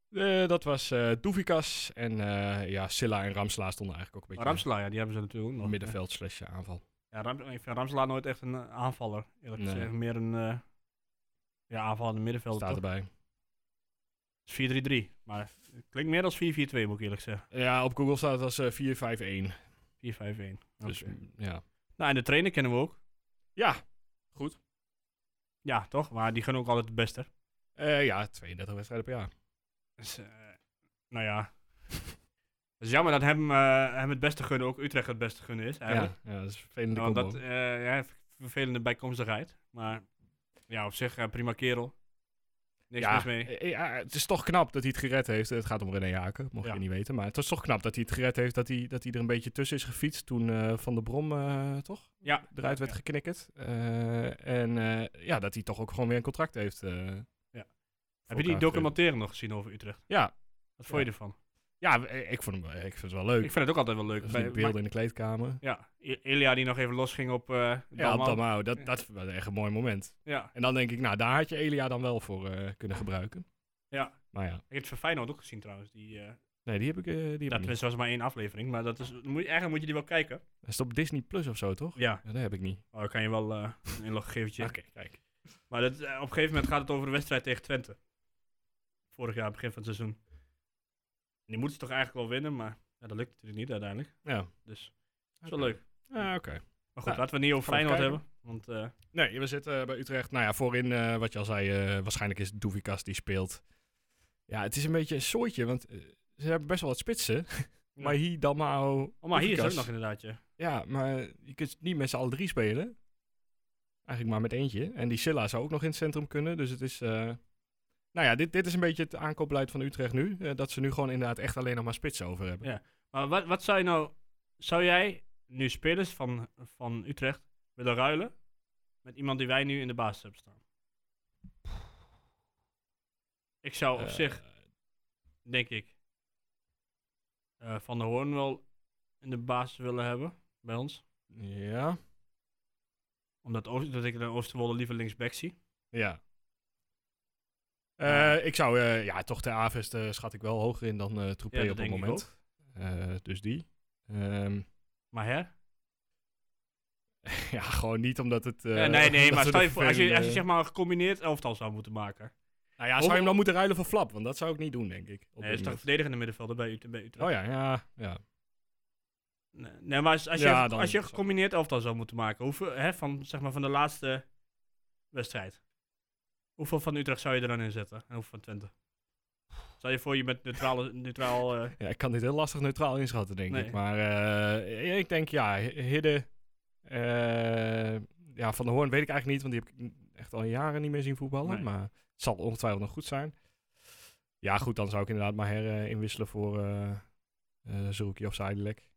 S1: Eh, dat was eh Doevikas en eh, ja, Silla en Ramsla stonden eigenlijk ook een beetje
S2: Ramselaar, ja, die hebben ze natuurlijk ook nog.
S1: middenveld slash aanval.
S2: Ja, Ram, ik vind Ramselaar nooit echt een eh, aanvaller. Eerlijk
S1: Nee.
S2: gezegd, meer een eh ja, aanvallende middenvelder.
S1: Staat
S2: toch?
S1: erbij.
S2: Het is 4-3-3, maar het klinkt meer als 4-4-2, moet ik eerlijk zeggen. 4-5-1.
S1: Ja, op Google staat het als eh, 4-5-1. Dus
S2: Dus,
S1: mm, ja.
S2: nou, en de trainer kennen we ook.
S1: Ja,
S2: Ja, toch? Maar die gaan ook altijd het beste.
S1: eh, ja, 32 wedstrijden per jaar.
S2: Dus, eh, nou ja. [laughs] Het is jammer dat hem, eh, hem het beste gunnen ook Utrecht het beste gunnen is. Eigenlijk.
S1: Ja, ja, dat is een vervelende
S2: Want
S1: combo.
S2: dat eh ja, vervelende bijkomstigheid. Maar ja, op zich eh, prima kerel. Niks mis mee.
S1: eh, Ja, het is toch knap dat hij het gered heeft. Het gaat om René Haken, mocht
S2: Ja.
S1: je niet weten. Maar het is toch knap dat hij het gered heeft. Dat hij, dat hij er een beetje tussen is gefietst toen eh, Van der Brom eh, toch
S2: Ja,
S1: eruit werd
S2: Ja.
S1: geknikkerd. Eh, en eh, ja, dat hij toch ook gewoon weer een contract heeft. eh, voor
S2: Heb je die
S1: elkaar
S2: documentaire nog gezien over Utrecht?
S1: gekregen. Ja,
S2: Wat vond je ervan?
S1: ja eh, ik, vond hem, eh, ik vind het wel leuk.
S2: Ik vind het ook altijd wel
S1: Dus
S2: leuk.
S1: die
S2: Bij-
S1: beelden
S2: maar-
S1: in de kleedkamer.
S2: ja, I- Ilja die nog even losging op eh
S1: Ja, op
S2: Dalmau.
S1: Dalmau, dat,
S2: Ja.
S1: dat was echt een mooi moment.
S2: Ja,
S1: En dan denk ik, nou, daar had je Elia dan wel voor eh, kunnen gebruiken.
S2: ja.
S1: Maar ja,
S2: Ik heb het van Feyenoord ook gezien trouwens. Die, eh,
S1: nee, die heb ik. eh, die
S2: dat
S1: heb ik niet.
S2: was maar één aflevering, maar dat is, moet, eigenlijk moet je die wel kijken.
S1: Dat is op Disney Plus of zo, toch?
S2: Ja,
S1: Ja, dat heb ik niet.
S2: oh, dan kan je wel eh een inloggegeventje.
S1: Oké, kijk.
S2: Maar dat, eh, op een gegeven moment gaat het over de wedstrijd tegen Twente. Vorig jaar, begin van het seizoen. En die moeten ze toch eigenlijk wel winnen, maar ja, dat lukt natuurlijk niet uiteindelijk.
S1: Ja.
S2: Dus dat is
S1: Oké.
S2: wel leuk.
S1: Ja, oké.
S2: Maar goed,
S1: Nou,
S2: laten we het niet over
S1: gaan we
S2: Feyenoord
S1: kijken.
S2: hebben. Want eh,
S1: Nee, we zitten bij Utrecht. Nou ja, voorin, eh, wat je al zei, eh, waarschijnlijk is het Doevikas die speelt. Ja, het is een beetje een soortje, want eh, ze hebben best wel wat spitsen. [laughs] maar hier, Dalmau,
S2: oh, maar hier is
S1: Doevikas.
S2: ook nog inderdaad, ja.
S1: Ja, maar je kunt niet met z'n allen drie spelen. Eigenlijk maar met eentje. En die Silla zou ook nog in het centrum kunnen, dus het is... eh, Nou ja, dit, dit is een beetje het aankoopbeleid van Utrecht nu. eh, dat ze nu gewoon inderdaad echt alleen nog maar spitsen over hebben.
S2: Ja. Maar wat, wat zou je nou... Zou jij nu spelers van, van Utrecht willen ruilen met iemand die wij nu in de basis hebben staan? Ik zou op
S1: Eh,
S2: zich, denk ik, eh, Van der Hoorn wel in de basis willen hebben bij ons.
S1: Ja.
S2: Omdat Oost- dat ik de Oosterwolde liever linksback zie.
S1: Ja. ik zou, eh, ja, toch de Aves eh, schat ik wel hoger in dan eh Troepé
S2: Ja, dat
S1: op het
S2: denk ik
S1: moment. Eh, dus die. Ehm, [laughs]
S2: Maar hè? Eh,
S1: ja, gewoon niet omdat het... eh,
S2: Eh,
S1: [laughs]
S2: nee, nee,
S1: omdat
S2: maar
S1: we
S2: stel
S1: de
S2: je voor, als je, als je
S1: vervelende-
S2: zeg maar een gecombineerd elftal zou moeten maken. Oh.
S1: Nou ja, zou je hem dan moeten ruilen voor Flap? Want dat zou ik niet doen, denk ik. op
S2: Nee,
S1: dit
S2: dat is toch
S1: moment.
S2: verdedigende middenvelder bij Ut- bij Utrecht.
S1: Oh ja, ja, ja.
S2: Nee, nee, maar als, als,
S1: Ja,
S2: je,
S1: dan-
S2: als je een gecombineerd elftal zou moeten maken, hoeveel, hè, van, zeg maar, van de laatste wedstrijd, hoeveel van Utrecht zou je er dan in zetten? En hoeveel van Twente? Zou je voor je met neutrale, neutraal... eh,
S1: Ja, ik kan dit heel lastig neutraal inschatten, denk
S2: Nee.
S1: ik. Maar eh, ik denk, ja, Hidde... eh, ja, Van der Hoorn weet ik eigenlijk niet, want die heb ik echt al jaren niet meer zien voetballen.
S2: Nee.
S1: Maar het zal ongetwijfeld nog goed zijn. Ja, goed, dan zou ik inderdaad maar her eh, inwisselen voor, eh, eh Zerouki of Zijdelijk.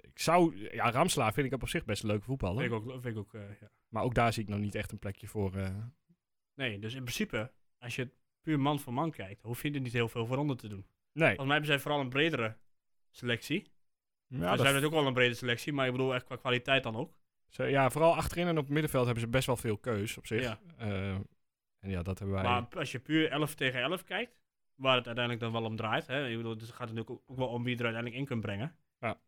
S1: ik zou, ja, Ramslaar vind ik op zich best een leuke voetballer.
S2: Vind ik ook, vind ik ook eh, ja.
S1: Maar ook daar zie ik nog niet echt een plekje voor. eh.
S2: Nee, dus in principe, als je het puur man voor man kijkt, hoef je er niet heel veel voor onder te doen.
S1: nee.
S2: Volgens mij hebben zij vooral een bredere selectie.
S1: Ja,
S2: ze
S1: dat-
S2: hebben natuurlijk ook wel een brede selectie, maar ik bedoel echt qua kwaliteit dan ook.
S1: ze- ja, vooral achterin en op het middenveld hebben ze best wel veel keus op zich.
S2: Ja.
S1: Eh, en ja, dat hebben wij.
S2: Maar als je puur 11 tegen 11 kijkt, waar het uiteindelijk dan wel om draait, hè, ik bedoel, dus het gaat natuurlijk ook ook wel om wie je er uiteindelijk in kunt brengen.
S1: Ja.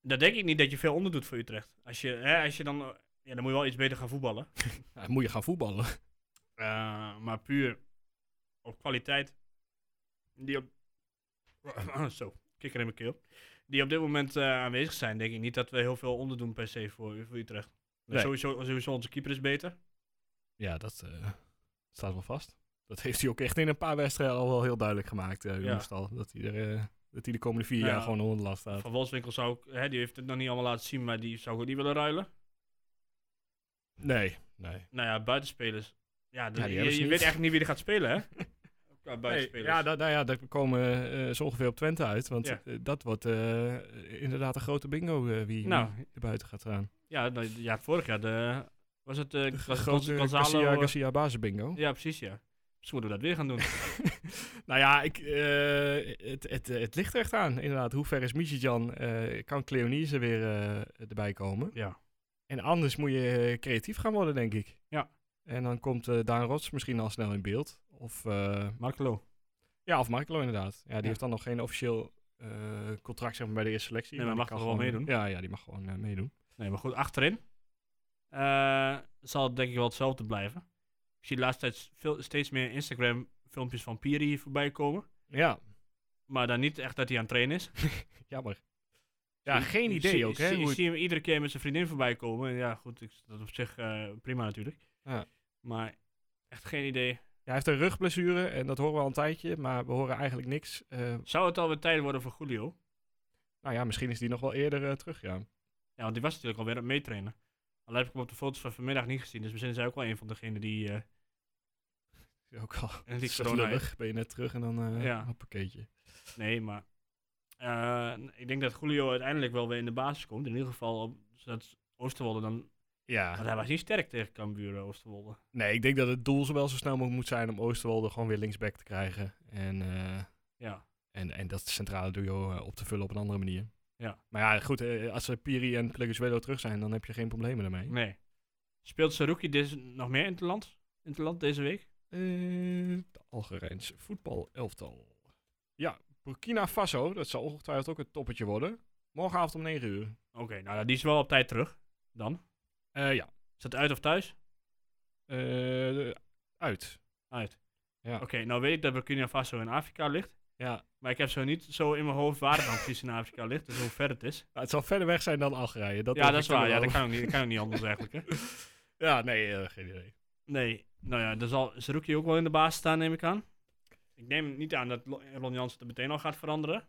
S2: Dan denk ik niet dat je veel onder doet voor Utrecht. Als je, hè, als je dan, eh, ja, dan moet je wel iets beter gaan voetballen.
S1: Ja, moet je gaan voetballen. [laughs]
S2: Eh, maar puur op kwaliteit, die op... [laughs] Oh, Zo, kikker in mijn keel. Die op dit moment eh, aanwezig zijn, denk ik niet dat we heel veel onderdoen per se voor, voor Utrecht.
S1: Nee.
S2: Sowieso, sowieso onze keeper is beter.
S1: Ja, dat eh, staat wel vast. Dat heeft hij ook echt in een paar wedstrijden al wel heel duidelijk gemaakt. eh
S2: Ja.
S1: Jongstal. Dat, hij er, eh, dat hij de komende vier
S2: Ja.
S1: jaar gewoon onder last staat.
S2: Van Wolfswinkel zou ik, hè, die heeft het nog niet allemaal laten zien, maar die zou ik ook niet willen ruilen.
S1: Nee, nee.
S2: Nou ja, buitenspelers. Ja, de-
S1: Ja, die
S2: je,
S1: hebben ze
S2: je
S1: niet.
S2: weet echt niet wie er gaat
S1: [laughs]
S2: spelen, hè? Qua
S1: Nee,
S2: buitenspelers.
S1: ja, dat, nou ja, daar komen eh, zo ongeveer op Twente uit. Want
S2: Ja.
S1: eh, dat wordt eh, inderdaad een grote bingo eh, wie,
S2: Nou.
S1: wie er buiten gaat gaan.
S2: ja, nou, ja, vorig jaar de, was het eh was het
S1: Grote
S2: Gonzalo-
S1: Garcia, Garcia basisbingo.
S2: Ja, precies, ja. Misschien moeten we dat weer
S1: [laughs]
S2: gaan doen.
S1: Nou ja, ik, eh, het, het, het ligt er echt aan. Inderdaad, hoe ver is Michijan? eh kan Cleonice weer eh, erbij komen?
S2: ja.
S1: En anders moet je eh, creatief gaan worden, denk ik.
S2: Ja.
S1: En dan komt eh, Daan Rots misschien al snel in beeld. Of, eh,
S2: Markelo.
S1: ja, of Markelo inderdaad. Ja, die
S2: Ja.
S1: heeft dan nog geen officieel eh, contract zeg maar, bij de eerste selectie.
S2: Nee, maar
S1: die
S2: mag
S1: kan
S2: toch wel
S1: gewoon- Ja, ja, die mag gewoon eh, meedoen.
S2: Nee, maar goed, achterin eh, zal het denk ik wel hetzelfde blijven. Ik zie de laatste tijd veel, steeds meer Instagram-filmpjes van Piri voorbij komen.
S1: Ja,
S2: Maar dan niet echt dat hij aan het trainen is.
S1: jammer. Ja,
S2: Ik-
S1: geen
S2: ik
S1: idee
S2: zie-
S1: ook,
S2: ik
S1: hè?
S2: zie- Ik
S1: hoe het-
S2: zie hem iedere keer met zijn vriendin voorbij komen. En ja, goed, ik, dat is op zich eh, prima natuurlijk.
S1: Ja.
S2: Maar echt geen idee.
S1: Ja, hij heeft een rugblessure en dat horen we al een tijdje, maar we horen eigenlijk niks. Eh,
S2: Zou het alweer tijd worden voor Julio?
S1: nou ja, misschien is die nog wel eerder eh, terug, ja.
S2: Ja, want die was natuurlijk alweer aan het meetrainen. Al heb ik hem op de foto's van vanmiddag niet gezien. Dus misschien is hij ook wel een van degenen die... eh,
S1: Ook al.
S2: En
S1: [laughs]
S2: die
S1: Het is toch
S2: corona-
S1: lullig, ben je net terug en dan eh
S2: Ja.
S1: een pakketje.
S2: nee, maar... eh, ik denk dat Julio uiteindelijk wel weer in de basis komt. In ieder geval op, zodat Oosterwolde dan... Want
S1: Ja,
S2: hij was niet sterk tegen Cambuur, eh, Oosterwolde.
S1: nee, ik denk dat het doel zowel zo snel mogelijk moet zijn om Oosterwolde gewoon weer linksback te krijgen. En, eh,
S2: Ja.
S1: en, en dat centrale duo eh, op te vullen op een andere manier.
S2: Ja.
S1: Maar ja, goed, eh, als eh, Piri en Pleguezuelo terug zijn, dan heb je geen problemen daarmee.
S2: Nee. Speelt Saruki deze, nog meer in het land? In het land deze week?
S1: Eh, de Algerijnse voetbalelftal. Ja, Burkina Faso, dat zal ongetwijfeld ook het toppetje worden. Morgenavond om 9 uur.
S2: Oké, nou die is wel op tijd terug. Dan.
S1: Eh, ja,
S2: Is dat uit of thuis?
S1: Eh, uit.
S2: Uit.
S1: Ja.
S2: Oké, nou weet ik dat Burkina Faso in Afrika ligt.
S1: Ja,
S2: Maar ik heb zo niet zo in mijn hoofd waar het dan precies in Afrika ligt. Dus hoe ver het is.
S1: Nou, het zal verder weg zijn dan Algerije. Dat
S2: ja,
S1: durf
S2: dat
S1: ik
S2: is
S1: wel
S2: waar. Ja,
S1: wel.
S2: dat kan ook niet, dat kan ook niet anders eigenlijk. Hè?
S1: Ja, nee, eh, geen idee.
S2: Nee. Nou ja, dan zal Zerouki ook wel in de baas staan, neem ik aan. Ik neem niet aan dat Lo- Ron Jansen er meteen al gaat veranderen.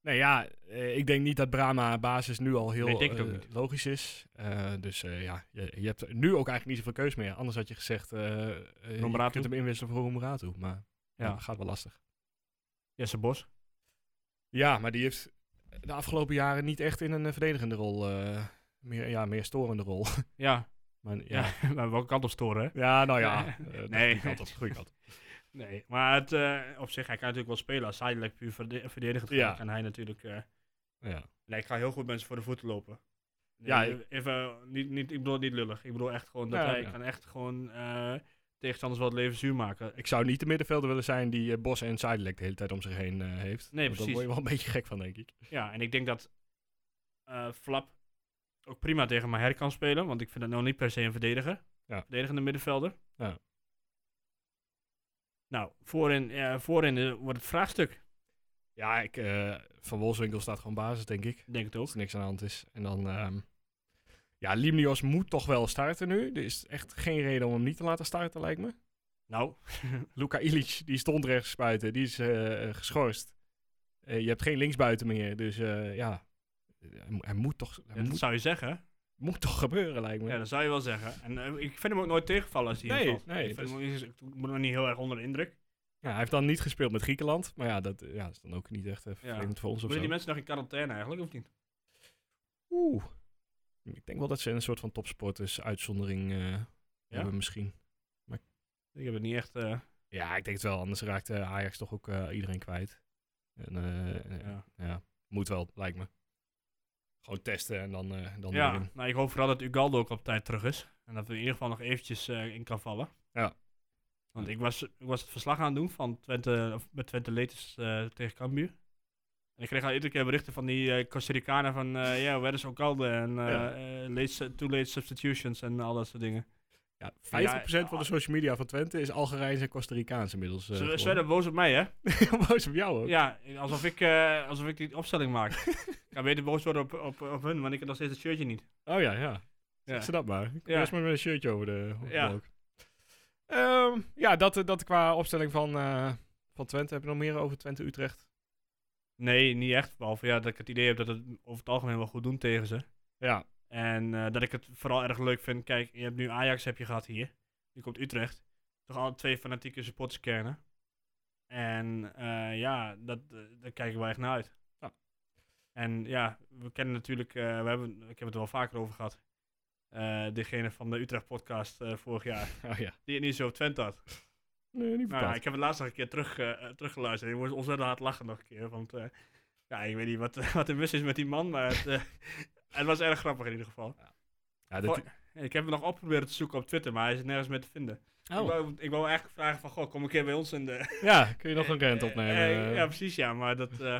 S1: Nee, ja, eh, ik denk niet dat Brahma basis nu al heel
S2: Nee, ik denk het ook
S1: eh,
S2: niet.
S1: logisch is. Eh, dus eh, ja, je, je hebt nu ook eigenlijk niet zoveel keus meer. Anders had je gezegd, eh eh, je
S2: Noemratu.
S1: kunt hem inwisselen voor Umratu. Maar ja.
S2: Ja.
S1: dat gaat wel lastig.
S2: Jesse Bos.
S1: Ja, maar die heeft de afgelopen jaren niet echt in een eh, verdedigende rol, eh, meer, ja, meer storende rol. [laughs]
S2: Ja,
S1: maar,
S2: [laughs]
S1: ja. ja.
S2: ja. maar welke kant op storen, hè?
S1: nou ja.
S2: Nee.
S1: eh, dat goede
S2: Nee.
S1: kant op, goede kant op.
S2: Nee, maar het, eh, op zich, hij kan natuurlijk wel spelen. Als zijdelijk puur verde verdedigend
S1: Ja.
S2: gaat, kan hij natuurlijk... eh,
S1: Ja.
S2: Nee, ik ga heel goed mensen voor de voeten lopen.
S1: Ja,
S2: ja, even, eh, niet, niet, ik bedoel het niet lullig. Ik bedoel echt gewoon dat
S1: Ja,
S2: hij
S1: ja.
S2: kan echt gewoon eh, tegenstanders wat leven zuur maken.
S1: Ik zou niet de middenvelder willen zijn die eh, Bos en Sidelec de hele tijd om zich heen eh, heeft.
S2: Nee,
S1: Want Daar
S2: precies.
S1: word je wel een [laughs] beetje gek van, denk ik.
S2: Ja, en ik denk dat eh, Flap ook prima tegen Maher kan spelen, want ik vind dat nou niet per se een verdediger.
S1: Ja.
S2: Verdedigende middenvelder.
S1: Ja.
S2: Nou, voorin, eh, voorin eh, wordt het vraagstuk,
S1: Ja, ik, eh, Van Wolfswinkel staat gewoon basis, denk ik.
S2: denk ik
S1: Als
S2: ook.
S1: er niks aan de hand is. En dan... ehm, ja, Limnios moet toch wel starten nu. Er is echt geen reden om hem niet te laten starten, lijkt me.
S2: Nou,
S1: Luka Ilic, die stond rechts buiten. Die is eh, eh, geschorst. Eh, je hebt geen linksbuiten meer. Dus eh, ja, hij, mo- hij moet toch, hij
S2: ja, dat
S1: moet,
S2: zou je zeggen.
S1: moet toch gebeuren, lijkt me.
S2: Ja, dat zou je wel zeggen. En eh, ik vind hem ook nooit tegenvallen als hij
S1: Nee,
S2: invalt.
S1: nee,
S2: ik, vind hem ook niet- ik- ik ben nog niet heel erg onder de indruk.
S1: Ja, hij heeft dan niet gespeeld met Griekenland. Maar ja, dat eh, ja, is dan ook niet echt eh, vervelend voor ons of
S2: Willen die
S1: zo.
S2: mensen nog in quarantaine eigenlijk, of niet?
S1: Oeh. Ik denk wel dat ze een soort van topsporters-uitzondering eh, hebben misschien.
S2: Ik heb het niet echt... eh,
S1: Ja, ik denk het wel. Anders raakt eh, Ajax toch ook eh, iedereen kwijt. En, eh, eh,
S2: ja.
S1: ja. moet wel, lijkt me. Gewoon testen en dan, eh dan weer
S2: Ja,
S1: in.
S2: nou, ik hoop vooral dat Ugaldo ook op tijd terug is. En dat we in ieder geval nog eventjes eh, in kan vallen.
S1: Ja.
S2: Want ik was, ik was het verslag aan het doen van Twente, of met Twente Letes eh, tegen Cambuur. En ik kreeg al iedere keer berichten van die eh Costa Ricanen van, ja,
S1: [laughs]
S2: where is Ugaldo? En eh
S1: Ja.
S2: eh, late, too late substitutions en al dat soort dingen.
S1: Ja, 50%
S2: Ja, ah.
S1: van de social media van Twente is Algerijns en Costa Ricaans inmiddels. eh,
S2: Ze ze
S1: geworden.
S2: werden boos op mij, hè?
S1: [laughs] boos op jou hoor.
S2: Ja, alsof ik, eh, alsof ik die
S1: [laughs]
S2: opstelling maak. ik kan beter boos worden op, op, op hun, want ik heb nog steeds het shirtje niet.
S1: Oh ja, ja.
S2: Ja.
S1: Zeg ze dat maar. Ik kom
S2: Ja.
S1: Eerst maar met een shirtje over de over de
S2: Ja.
S1: balk. Ehm, ja, dat, eh, dat qua opstelling van, eh, van Twente. Heb je nog meer over Twente-Utrecht?
S2: Nee, niet echt. Behalve ja, dat ik het idee heb dat het over het algemeen wel goed doen tegen ze.
S1: Ja,
S2: En eh, dat ik het vooral erg leuk vind. Kijk, je hebt nu Ajax heb je gehad hier. Nu komt Utrecht. Toch alle twee fanatieke supporterskernen. En eh, ja, dat, eh, daar kijken we echt naar uit.
S1: Ja.
S2: En ja, we kennen natuurlijk, eh, we hebben, ik heb het er wel vaker over gehad. Eh, degene van de Utrecht podcast eh, vorig jaar,
S1: oh ja.
S2: die het niet zo op Twente had.
S1: Nee, niet
S2: Nou ja,
S1: bepaald.
S2: ik heb het laatst nog een keer terug, eh, eh, teruggeluisterd. Ik moest ontzettend hard lachen nog een keer. Want eh, ja, ik weet niet wat, [laughs] wat er mis is met die man, maar het, eh, [laughs] het was erg grappig in ieder geval.
S1: Ja, dat-
S2: Ik heb hem nog opgeprobeerd te zoeken op Twitter, maar hij is nergens meer te vinden. Ik, wou, ik wou eigenlijk vragen van, goh, kom een keer bij ons in de...
S1: ja, Oh. kun je nog een rent
S2: Eh,
S1: opnemen?
S2: [laughs] eh,
S1: eh?
S2: ja, precies, ja. Maar dat, eh,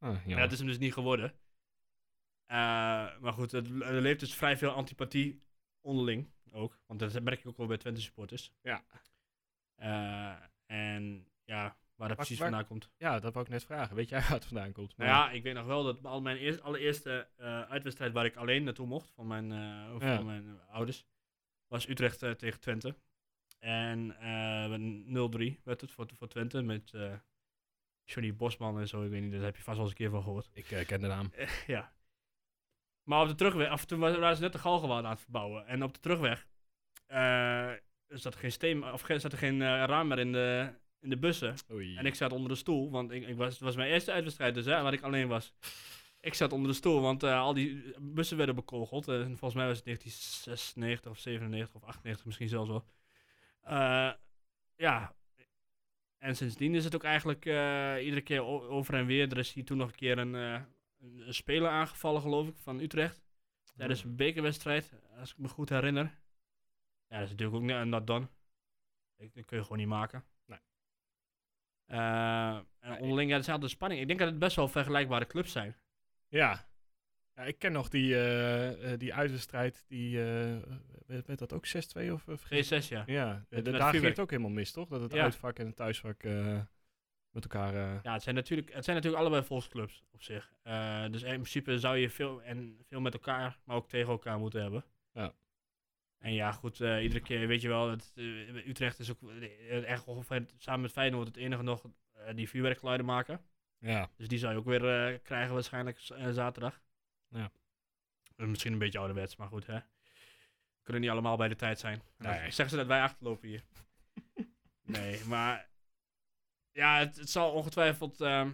S1: Ah,
S2: ja,
S1: jammer.
S2: dat is hem dus niet geworden. Eh, maar goed, het, er leeft dus vrij veel antipathie onderling ook. Want dat merk ik ook wel bij Twente supporters.
S1: Ja.
S2: Eh, en ja, waar dat precies
S1: waar-
S2: vandaan komt.
S1: Ja, dat wou ik net vragen. Weet jij waar het vandaan komt?
S2: Nou ja, ik weet nog wel dat al mijn eerst, allereerste eh, uitwedstrijd waar ik alleen naartoe mocht van mijn, eh, of
S1: Ja.
S2: van mijn eh, ouders, was Utrecht eh, tegen Twente. En eh, met 0-3 werd het voor, voor Twente met eh, Johnny Bosman en zo. Ik weet niet, daar heb je vast wel eens een keer van gehoord. [laughs]
S1: Ik eh, ken de naam.
S2: ja. Maar op de terugweg, af toen wa- waren ze net de Galgenwaard aan het verbouwen. En op de terugweg eh, zat er geen, steen, of, geen- zat er geen eh, raam meer in de, in de bussen.
S1: Oei.
S2: Eh, En ik zat onder de stoel, want ik, ik was, het was mijn eerste uitwedstrijd dus, hè, waar ik alleen was. Ik zat onder de stoel, want eh, al die bussen werden bekogeld. Eh, en volgens mij was het 1996 of 97 of 98 misschien zelfs wel. Eh, ja. En sindsdien is het ook eigenlijk eh, iedere keer o- over en weer. Er is hier toen nog een keer een, eh, een een speler aangevallen, geloof ik, van Utrecht. Tijdens een bekerwedstrijd, als ik me goed herinner. Ja, dat is natuurlijk ook niet not done. Ik- Dat kun je gewoon niet maken. Eh, en onderling, ja, er is altijd spanning. Ik denk dat het best wel vergelijkbare clubs zijn.
S1: Ja. ja, ik ken nog die, eh, eh, die uitwedstrijd. Die, eh, werd, werd dat ook 6-2 of eh, vergis
S2: G6, ja.
S1: Ja, eh,
S2: Met-
S1: de-
S2: met
S1: daar ging
S2: vuurwerk.
S1: het ook helemaal mis, toch? Dat het
S2: Ja.
S1: uitvak en het thuisvak eh, met elkaar... eh,
S2: Ja, het zijn natuurlijk, het zijn natuurlijk allebei volksclubs op zich. Eh, dus in principe zou je veel, en veel met elkaar, maar ook tegen elkaar moeten hebben.
S1: Ja.
S2: En ja, goed, eh, iedere keer weet je wel, het, eh, Utrecht is ook eh, echt ongeveer samen met Feyenoord het enige nog eh, die vuurwerkgeluiden maken.
S1: ja.
S2: Dus die zou je ook weer eh, krijgen waarschijnlijk z- eh, zaterdag.
S1: Ja.
S2: Eh, Misschien een beetje ouderwets, maar goed, hè. We kunnen niet allemaal bij de tijd zijn.
S1: Nee.
S2: Nee. Zeggen ze dat wij
S1: [laughs]
S2: achterlopen hier. nee, maar... Ja, het, het zal ongetwijfeld... ehm,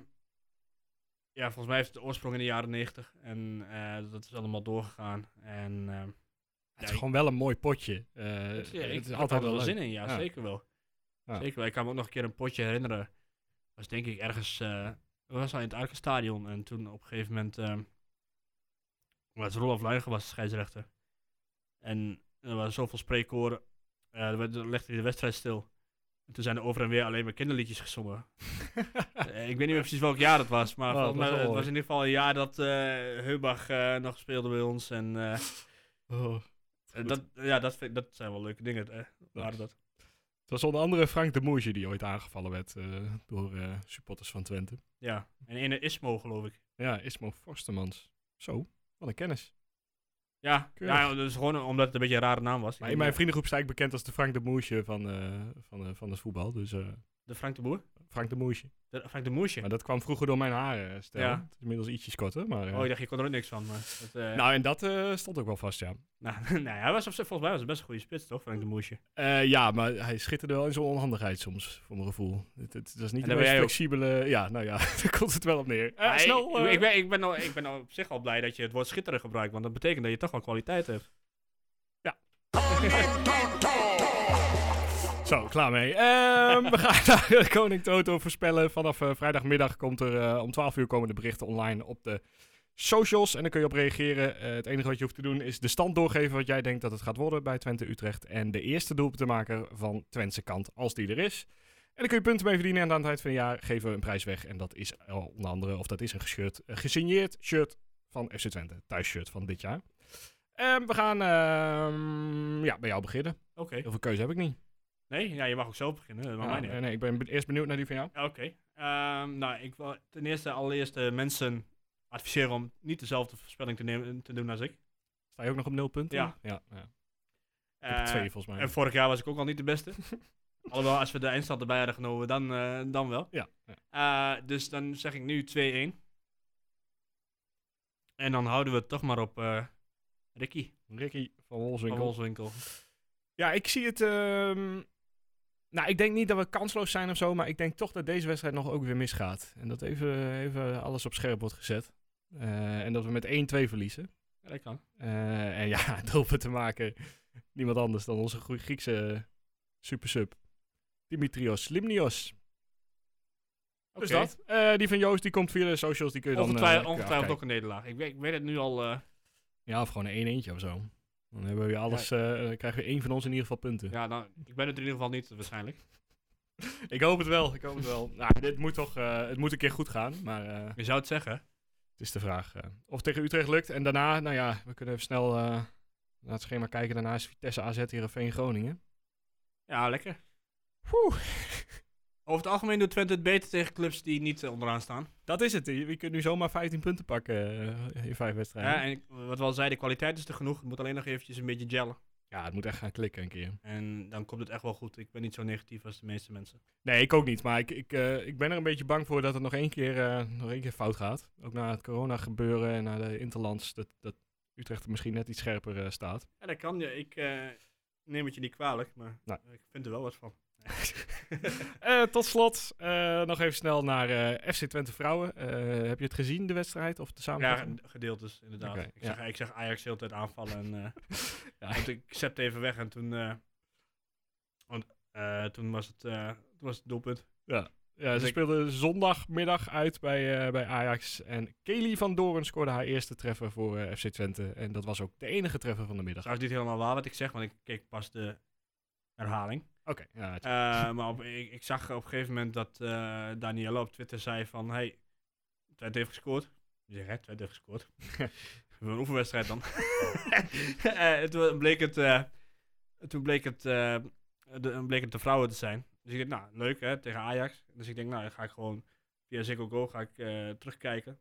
S2: ja, volgens mij heeft het de oorsprong in de jaren 90 En eh, dat is allemaal doorgegaan. En... ehm,
S1: Het
S2: ja,
S1: is gewoon wel een mooi potje. Eh,
S2: het, Dus ja, ik
S1: het is
S2: heb
S1: altijd
S2: er
S1: wel
S2: zin
S1: leuk.
S2: in, ja,
S1: Ja.
S2: zeker wel.
S1: Ja.
S2: Zeker wel. Ik kan me ook nog een keer een potje herinneren. was denk ik ergens, eh we was al in het Arkenstadion en toen op een gegeven moment ehm was Rolf Luigen was de scheidsrechter. En er waren zoveel spreekkoren, eh, er werd- er legde hij de wedstrijd stil. En toen zijn er over en weer alleen maar kinderliedjes gezongen. Eh, ik weet niet meer precies welk jaar dat was, maar
S1: Oh, dat
S2: volgens mij-
S1: was wel
S2: het
S1: mooi.
S2: was in ieder geval een jaar dat eh Hubach eh, nog speelde bij ons. En eh,
S1: [laughs] Oh.
S2: eh, dat, ja, dat, vind, dat zijn wel leuke dingen, eh, waren dat.
S1: Het was onder andere Frank de Moesje die ooit aangevallen werd eh, door eh, supporters van Twente.
S2: Ja, en ene Ismo, geloof ik.
S1: Ja, Ismo Forstemans. Zo, wat een kennis.
S2: Ja,
S1: Keurig.
S2: ja dus gewoon omdat het een beetje een rare naam was.
S1: Maar in mijn vriendengroep sta ik bekend als de Frank de Moesje van, eh, van, eh, van het voetbal. Dus eh,
S2: De Frank de Boer?
S1: Frank de Moesje.
S2: De, Frank de Moesje?
S1: Maar dat kwam vroeger door mijn haren, eh, stel.
S2: Ja.
S1: Het is inmiddels ietsjes korter, maar... eh,
S2: Oh, ik dacht, je kon er ook niks van. Maar dat, eh,
S1: Nou, en dat eh, stond ook wel vast, ja.
S2: [laughs] nou, nou ja, hij was op zich, volgens mij was het best een goede spits, toch? Frank de Moesje.
S1: Eh, ja, maar hij schitterde wel in zijn onhandigheid soms, voor mijn gevoel. Het, het, het was niet
S2: En
S1: de
S2: daar
S1: meest
S2: ben jij ook.
S1: flexibele... Ja, nou ja, [laughs] daar komt het wel op neer. Eh,
S2: Maar
S1: snel,
S2: ik,
S1: eh,
S2: ik, ben, ik, ben al, ik ben al op zich al blij dat je het woord schitteren gebruikt, want dat betekent dat je toch wel kwaliteit hebt.
S1: Zo, klaar mee. Ehm, we gaan [laughs] naar eh, Koning Toto voorspellen. Vanaf eh, vrijdagmiddag komt er eh, om 12 uur komen de berichten online op de socials. En dan kun je op reageren. Eh, het enige wat je hoeft te doen is de stand doorgeven wat jij denkt dat het gaat worden bij Twente Utrecht. En de eerste doelpuntenmaker van Twentse kant, als die er is. En dan kun je punten mee verdienen. En aan het eind van het jaar geven we een prijs weg. En dat is eh, onder andere, of dat is een gescheurd, eh, gesigneerd shirt van FC Twente. Thuisshirt van dit jaar. Ehm, we gaan ehm, ja, bij jou beginnen.
S2: Oké.
S1: Heel veel keuze heb ik niet.
S2: Nee, ja, je mag ook zo beginnen. Dat maakt
S1: Ja,
S2: mij niet
S1: nee, nee, ik ben be- eerst benieuwd naar die van jou.
S2: uit. Oké. Ehm, nou, ik wil ten eerste allereerst eh, mensen adviseren om niet dezelfde voorspelling te, nemen, te doen als ik.
S1: Sta je ook nog op nul punten?
S2: Ja.
S1: ja, ja. Ik
S2: Eh,
S1: heb twee volgens mij.
S2: en vorig jaar was ik ook al niet de
S1: [laughs]
S2: beste. Alhoewel, als we de eindstand erbij hadden genomen, dan, eh, dan wel.
S1: Ja, ja.
S2: Eh, dus dan zeg ik nu 2-1. En dan houden we het toch maar op eh, Ricky
S1: Ricky van
S2: van
S1: Wolfswinkel.
S2: Wolfswinkel.
S1: Ja, ik zie het... ehm, Nou, ik denk niet dat we kansloos zijn of zo, maar ik denk toch dat deze wedstrijd nog ook weer misgaat. En dat even, even alles op scherp wordt gezet. Eh, en dat we met 1-2 verliezen.
S2: Ja, dat kan.
S1: Eh, en ja, [laughs] doelpunt te maken niemand anders dan onze goe- Griekse supersub. Dimitrios Limnios. Dus
S2: Oké.
S1: dat. Eh, die van Joost, die komt via de socials. Die kun je dan... eh,
S2: Ongetwij-
S1: kun je
S2: ongetwijfeld
S1: afkijken.
S2: ook een nederlaag. Ik weet, ik weet het nu al. eh,
S1: Ja, of gewoon een 1 eentje of zo. Dan hebben we alles, eh, dan krijgen we één van ons in ieder geval punten.
S2: ja, nou, ik ben het in ieder geval niet waarschijnlijk.
S1: Ik hoop het wel, ik hoop het
S2: [laughs]
S1: wel. nou, dit moet toch, eh, het moet een keer goed gaan, maar eh,
S2: Je zou het zeggen.
S1: het is de vraag eh, of tegen Utrecht lukt. En daarna, nou ja, we kunnen even snel eh, naar het schema kijken. Daarna is Vitesse AZ Heerenveen Groningen.
S2: Ja, lekker. Over het algemeen doet Twente het beter tegen clubs die niet eh, onderaan staan.
S1: Dat is het, je, je kunt nu zomaar 15 punten pakken eh, in vijf
S2: Ja.
S1: wedstrijden. Ja,
S2: en ik- wat we al zeiden, de kwaliteit is er genoeg. Het moet alleen nog eventjes een beetje gellen.
S1: het moet echt gaan klikken een keer.
S2: En dan komt het echt wel goed. Ik ben niet zo negatief als de meeste mensen.
S1: Nee, ik ook niet, maar ik, ik, eh, ik ben er een beetje bang voor dat het nog één keer, eh, nog één keer fout gaat. Ook na het corona gebeuren en na de interlands, dat, dat Utrecht er misschien net iets scherper eh, staat.
S2: Ja, dat kan. Ja. Ik eh, neem het je niet kwalijk, maar
S1: Nee.
S2: ik vind er wel wat van.
S1: Eh, tot slot, eh, nog even snel naar eh, FC Twente Vrouwen. Eh, heb je het gezien, de wedstrijd? Of de
S2: Ja,
S1: samenvatting?
S2: gedeeltes inderdaad.
S1: Oké,
S2: ik, zeg, ik zeg Ajax de hele tijd aanvallen en... eh,
S1: [laughs] Ja,
S2: Want ik zette even weg en toen, eh, want, eh, toen, was het, eh, toen was het doelpunt.
S1: Ja, ze
S2: ik-
S1: speelden zondagmiddag uit bij, eh, bij Ajax. En Kelly van Doorn scoorde haar eerste treffer voor eh, FC Twente. En dat was ook de enige treffer van de middag.
S2: Dat is niet helemaal waar wat ik zeg, want ik keek pas de herhaling.
S1: Oké, ja, het-
S2: Eh, maar op, ik, ik zag op een gegeven moment dat eh Danielle op Twitter zei van... Hey, Twente heeft gescoord. Ik zeg, hè, Twente heeft gescoord. We een oefenwedstrijd dan. Eh, en toen bleek het, eh, toen bleek, het eh, de, bleek het de vrouwen te zijn. Dus ik dacht, nou, leuk hè, tegen Ajax. Dus ik denk, nou, dan ga ik gewoon via Ziggo Go ga ik, eh, terugkijken.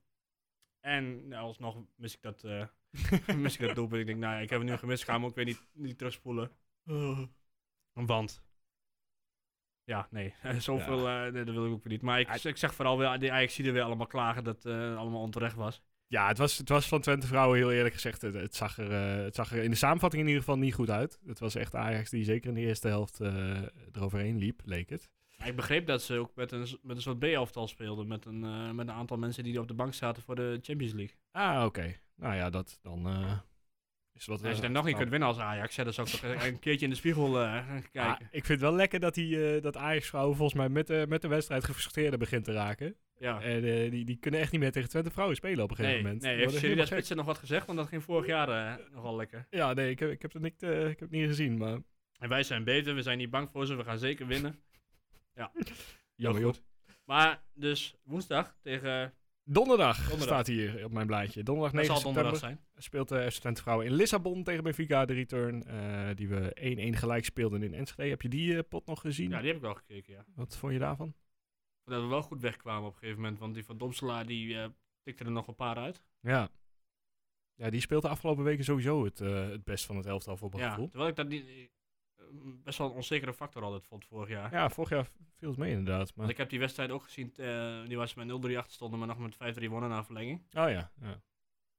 S2: En nou, alsnog mis ik dat, eh [laughs] mis ik dat doelpunt. Ik denk, nou, ik heb het nu gemist. Ik ga hem ook weer niet, niet terugspoelen. Want. Ja, nee. [laughs] Zoveel, eh, nee, dat wil ik ook weer niet. Maar ik, ik zeg vooral weer, die Ajax er weer allemaal klagen dat het allemaal onterecht was.
S1: ja het, was, het was van Twente Vrouwen heel eerlijk gezegd. Het, het zag er, eh, het zag er in de samenvatting in ieder geval niet goed uit. Het was echt Ajax die zeker in de eerste helft eh, eroverheen liep, leek het.
S2: Maar ik begreep dat ze ook met een, s- met een soort B-elftal speelden. Met een, eh, met een aantal mensen die op de bank zaten voor de Champions League.
S1: Ah, oké. Nou ja, dat dan eh, is wat...
S2: En als je
S1: eh,
S2: dan nog
S1: knap.
S2: niet kunt winnen als Ajax, ja, dan zou ik toch een keertje in de spiegel eh, gaan
S1: Ja,
S2: kijken.
S1: Ah, ik vind het wel lekker dat, die, eh, dat Ajax-vrouwen volgens mij met, de met de wedstrijd gefrustreerd begint te raken.
S2: Ja.
S1: En eh, die, die kunnen echt niet meer tegen Twente vrouwen spelen op een gegeven
S2: Ah. Nee,
S1: moment.
S2: nee
S1: Die
S2: heeft
S1: worden
S2: Sherida
S1: helemaal gek.
S2: Spitsen nog wat gezegd? Want dat ging vorig jaar eh, nogal lekker.
S1: Ja, nee, ik heb, ik heb het niet, eh, ik heb het niet gezien, maar
S2: En wij zijn beter, we zijn niet bang voor ze, we gaan zeker winnen.
S1: jammer joh.
S2: goed. Maar dus woensdag tegen...
S1: Donderdag,
S2: Donderdag.
S1: staat hier op mijn blaadje. Donderdag
S2: Dat
S1: 9
S2: zal
S1: september
S2: donderdag zijn.
S1: speelt de FC Twente vrouwen in Lissabon tegen Benfica, de return. eh, die we 1-1 gelijk speelden in Enschede. Heb je die eh, pot nog gezien?
S2: Ja, die heb ik wel gekeken, ja.
S1: Wat vond je daarvan?
S2: Dat we wel goed wegkwamen op een gegeven moment. Want die van Domselaar die eh, tikte er nog een paar uit.
S1: Ja. Ja, die speelt de afgelopen weken sowieso het, eh, het best van het elftal voor mijn
S2: Ja,
S1: gevoel.
S2: terwijl ik dat niet... eh, eh, best wel een onzekere factor altijd vond vorig jaar.
S1: Ja, vorig jaar viel het mee inderdaad. Maar...
S2: Want ik heb die wedstrijd ook gezien, eh, die was met 0-3 achter stonden, maar nog met 5-3 wonnen na verlenging.
S1: Oh ja, ja.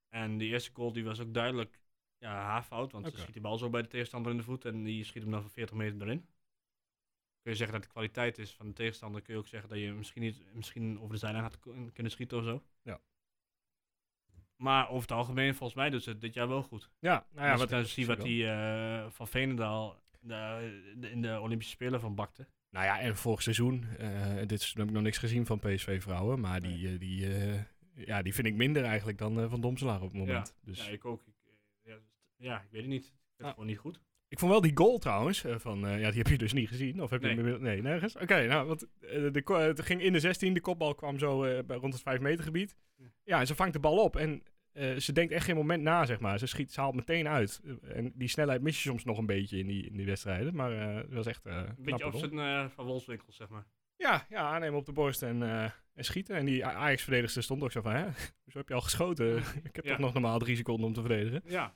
S2: En die eerste goal die was ook duidelijk ja, haar fout, want
S1: Oké.
S2: ze schiet die bal zo bij de tegenstander in de voet en die schiet hem dan van 40 meter erin. Kun je zeggen dat de kwaliteit is van de tegenstander, kun je ook zeggen dat je misschien, niet, misschien over de zijlijn had kun- kunnen schieten of zo.
S1: Ja.
S2: Maar over het algemeen, volgens mij doet ze het dit jaar wel goed.
S1: ja, nou ja
S2: Als
S1: wat
S2: wat
S1: ik
S2: dan zie
S1: zie
S2: wat
S1: wel.
S2: die eh, van Veenendaal de- de- in de Olympische Spelen van bakte.
S1: Nou ja, en vorig seizoen, eh, dit seizoen heb ik nog niks gezien van PSV-vrouwen, maar die, eh, die, eh, ja, die vind ik minder eigenlijk dan eh, Van Domselaar op het moment. Dus...
S2: Ja, ik ook. Ik, eh, ja, ja, ik weet het niet. Ik vind het
S1: Ah.
S2: gewoon niet goed.
S1: Ik vond wel die goal trouwens, eh, van, eh, ja, die heb je dus niet gezien. Of heb je
S2: Nee.
S1: hem inmiddel- Nee, nergens. Oké, nou, want eh, de, ko- het ging in de 16, de kopbal kwam zo eh, bij rond het 5 meter gebied.
S2: Ja.
S1: Ja, en ze vangt de bal op en eh, ze denkt echt geen moment na, zeg maar. Ze schiet, ze haalt meteen uit. Eh, En die snelheid mis je soms nog een beetje in die, in die wedstrijden, maar eh dat was echt eh
S2: Een beetje
S1: goal.
S2: opzet eh van Wolfswinkel, zeg maar.
S1: Ja, ja, aannemen op de borst en, eh, en schieten. En die Ajax-verdedigster stond ook zo van, hè, hoezo heb je al geschoten? [laughs] Ik heb
S2: Ja.
S1: toch nog normaal drie seconden om te verdedigen.
S2: Ja.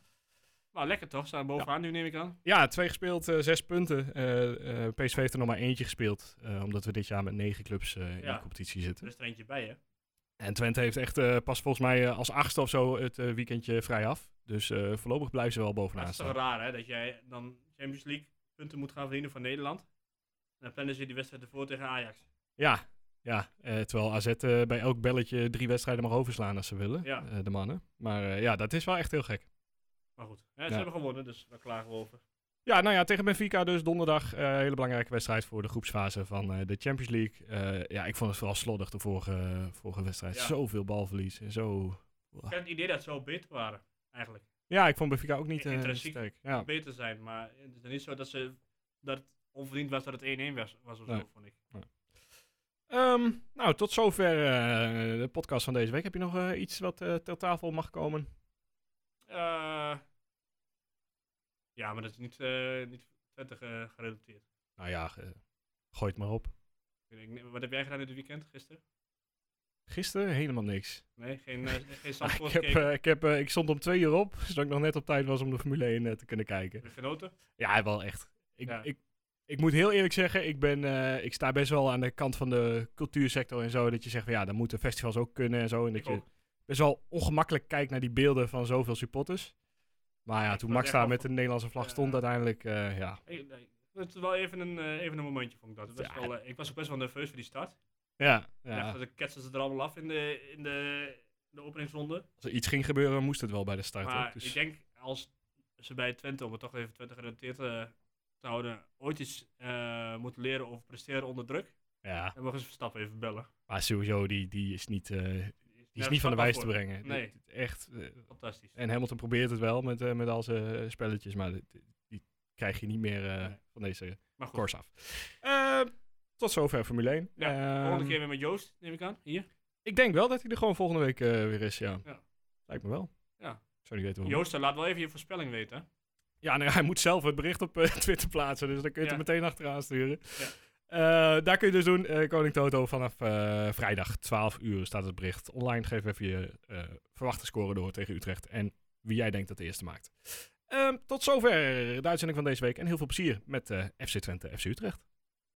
S2: Maar lekker toch? Staan bovenaan nu, neem ik aan.
S1: Ja, twee gespeeld, eh, zes punten. Eh, eh, PSV heeft er nog maar eentje gespeeld, eh, omdat we dit jaar met negen clubs eh, in
S2: Ja.
S1: de competitie zitten.
S2: Er is er eentje bij, hè?
S1: En Twente heeft echt eh, pas volgens mij eh, als achtste of zo het eh, weekendje vrij af. Dus eh, voorlopig blijven ze wel
S2: Maar
S1: bovenaan
S2: het is toch
S1: staan.
S2: raar, hè? Dat jij dan Champions League punten moet gaan verdienen van Nederland. En dan plannen ze die wedstrijd ervoor tegen Ajax.
S1: Ja, ja eh, terwijl AZ eh, bij elk belletje drie wedstrijden mag overslaan als ze willen,
S2: Ja.
S1: eh, de mannen. Maar eh, ja, dat is wel echt heel gek.
S2: Maar goed, hè, ze
S1: Ja.
S2: hebben gewonnen, dus daar klagen we over.
S1: Ja, nou ja, tegen Benfica dus donderdag. eh hele belangrijke wedstrijd voor de groepsfase van eh, de Champions League. Eh, ja, ik vond het vooral slordig de vorige, eh, vorige wedstrijd.
S2: Ja.
S1: Zoveel balverlies en zo...
S2: Ik had het idee dat ze al beter waren, eigenlijk.
S1: Ja, ik vond Benfica ook niet
S2: I-
S1: eh,
S2: intrinsiek.
S1: sterk. Ja.
S2: Beter zijn, maar het is niet zo dat, ze, dat het onverdiend was dat het 1-1 was, was of
S1: Nee.
S2: zo, vond ik.
S1: Ehm, nou, tot zover eh, de podcast van deze week. Heb je nog eh, iets wat eh, ter tafel mag komen?
S2: Eh, ja, maar dat is niet, eh niet prettig eh, gerelateerd.
S1: Nou ja, ge- gooi het maar op.
S2: Ik denk, nee, Wat heb jij gedaan dit weekend, gisteren?
S1: Gisteren helemaal niks.
S2: Nee, geen,
S1: [laughs]
S2: eh, geen
S1: Ah,
S2: Zandvoort
S1: ik, heb,
S2: gekeken?
S1: eh, ik, heb, eh, ik stond om twee uur op, [laughs] zodat ik nog net op tijd was om de Formule 1 eh, te kunnen kijken.
S2: Heb je genoten?
S1: Ja, wel echt. Ik,
S2: Ja.
S1: ik, ik moet heel eerlijk zeggen, ik, ben, eh, ik sta best wel aan de kant van de cultuursector en zo. Dat je zegt, van, ja, dan moeten festivals ook kunnen en zo. En dat
S2: Ik
S1: je
S2: ook.
S1: best wel ongemakkelijk kijkt naar die beelden van zoveel supporters. Maar ja,
S2: Ik
S1: toen
S2: word
S1: Max
S2: echt
S1: daar
S2: wel
S1: met de
S2: ver-
S1: Nederlandse vlag
S2: Ja.
S1: stond, uiteindelijk, eh, ja.
S2: Ik- nee, Het is wel even een, eh, even een momentje, vond ik dat. Het was
S1: Ja.
S2: wel, eh, ik was ook best wel nerveus voor die start.
S1: Ja,
S2: Ik
S1: ja.
S2: dacht, dat ik ketsen ze er allemaal af in de, in de, de openingsronde.
S1: Als er iets ging gebeuren, moest het wel bij de start.
S2: Maar
S1: ook, dus-
S2: ik denk als ze bij Twente, om het toch even Twente gerelateerd eh, te houden, ooit iets eh, moeten leren over presteren onder druk,
S1: ja,
S2: dan mogen ze Verstappen even bellen.
S1: maar sowieso, die, die is niet, eh,
S2: Die
S1: die is niet van de wijs te
S2: brengen.
S1: brengen.
S2: Nee.
S1: Dit- dit- echt. eh,
S2: Fantastisch.
S1: en Hamilton probeert het wel met, eh, met al zijn eh, spelletjes, maar dit- die, krijg je niet meer eh,
S2: Nee.
S1: van deze
S2: Maar goed,
S1: kors af. Ehm, tot zover Formule 1.
S2: Ja, volgende
S1: Ehm,
S2: keer weer met Joost, neem ik aan. Hier.
S1: Ik denk wel dat hij er gewoon volgende week eh, weer is, ja.
S2: Ja.
S1: Lijkt me wel.
S2: Ja.
S1: Ik zou niet weten hoe.
S2: Joost, laat wel even je voorspelling weten. hè.
S1: Ja, nou ja, [laughs] hij moet zelf het bericht op eh, [laughs] Twitter plaatsen, dus dan kun je het
S2: Ja.
S1: er meteen achteraan sturen. Eh, daar kun je dus doen, eh, Koning Toto, vanaf eh, vrijdag 12 uur staat het bericht online. Geef even je eh, verwachte score door tegen Utrecht en wie jij denkt dat de eerste maakt. Ehm, tot zover de uitzending van deze week en heel veel plezier met eh, FC Twente, FC Utrecht.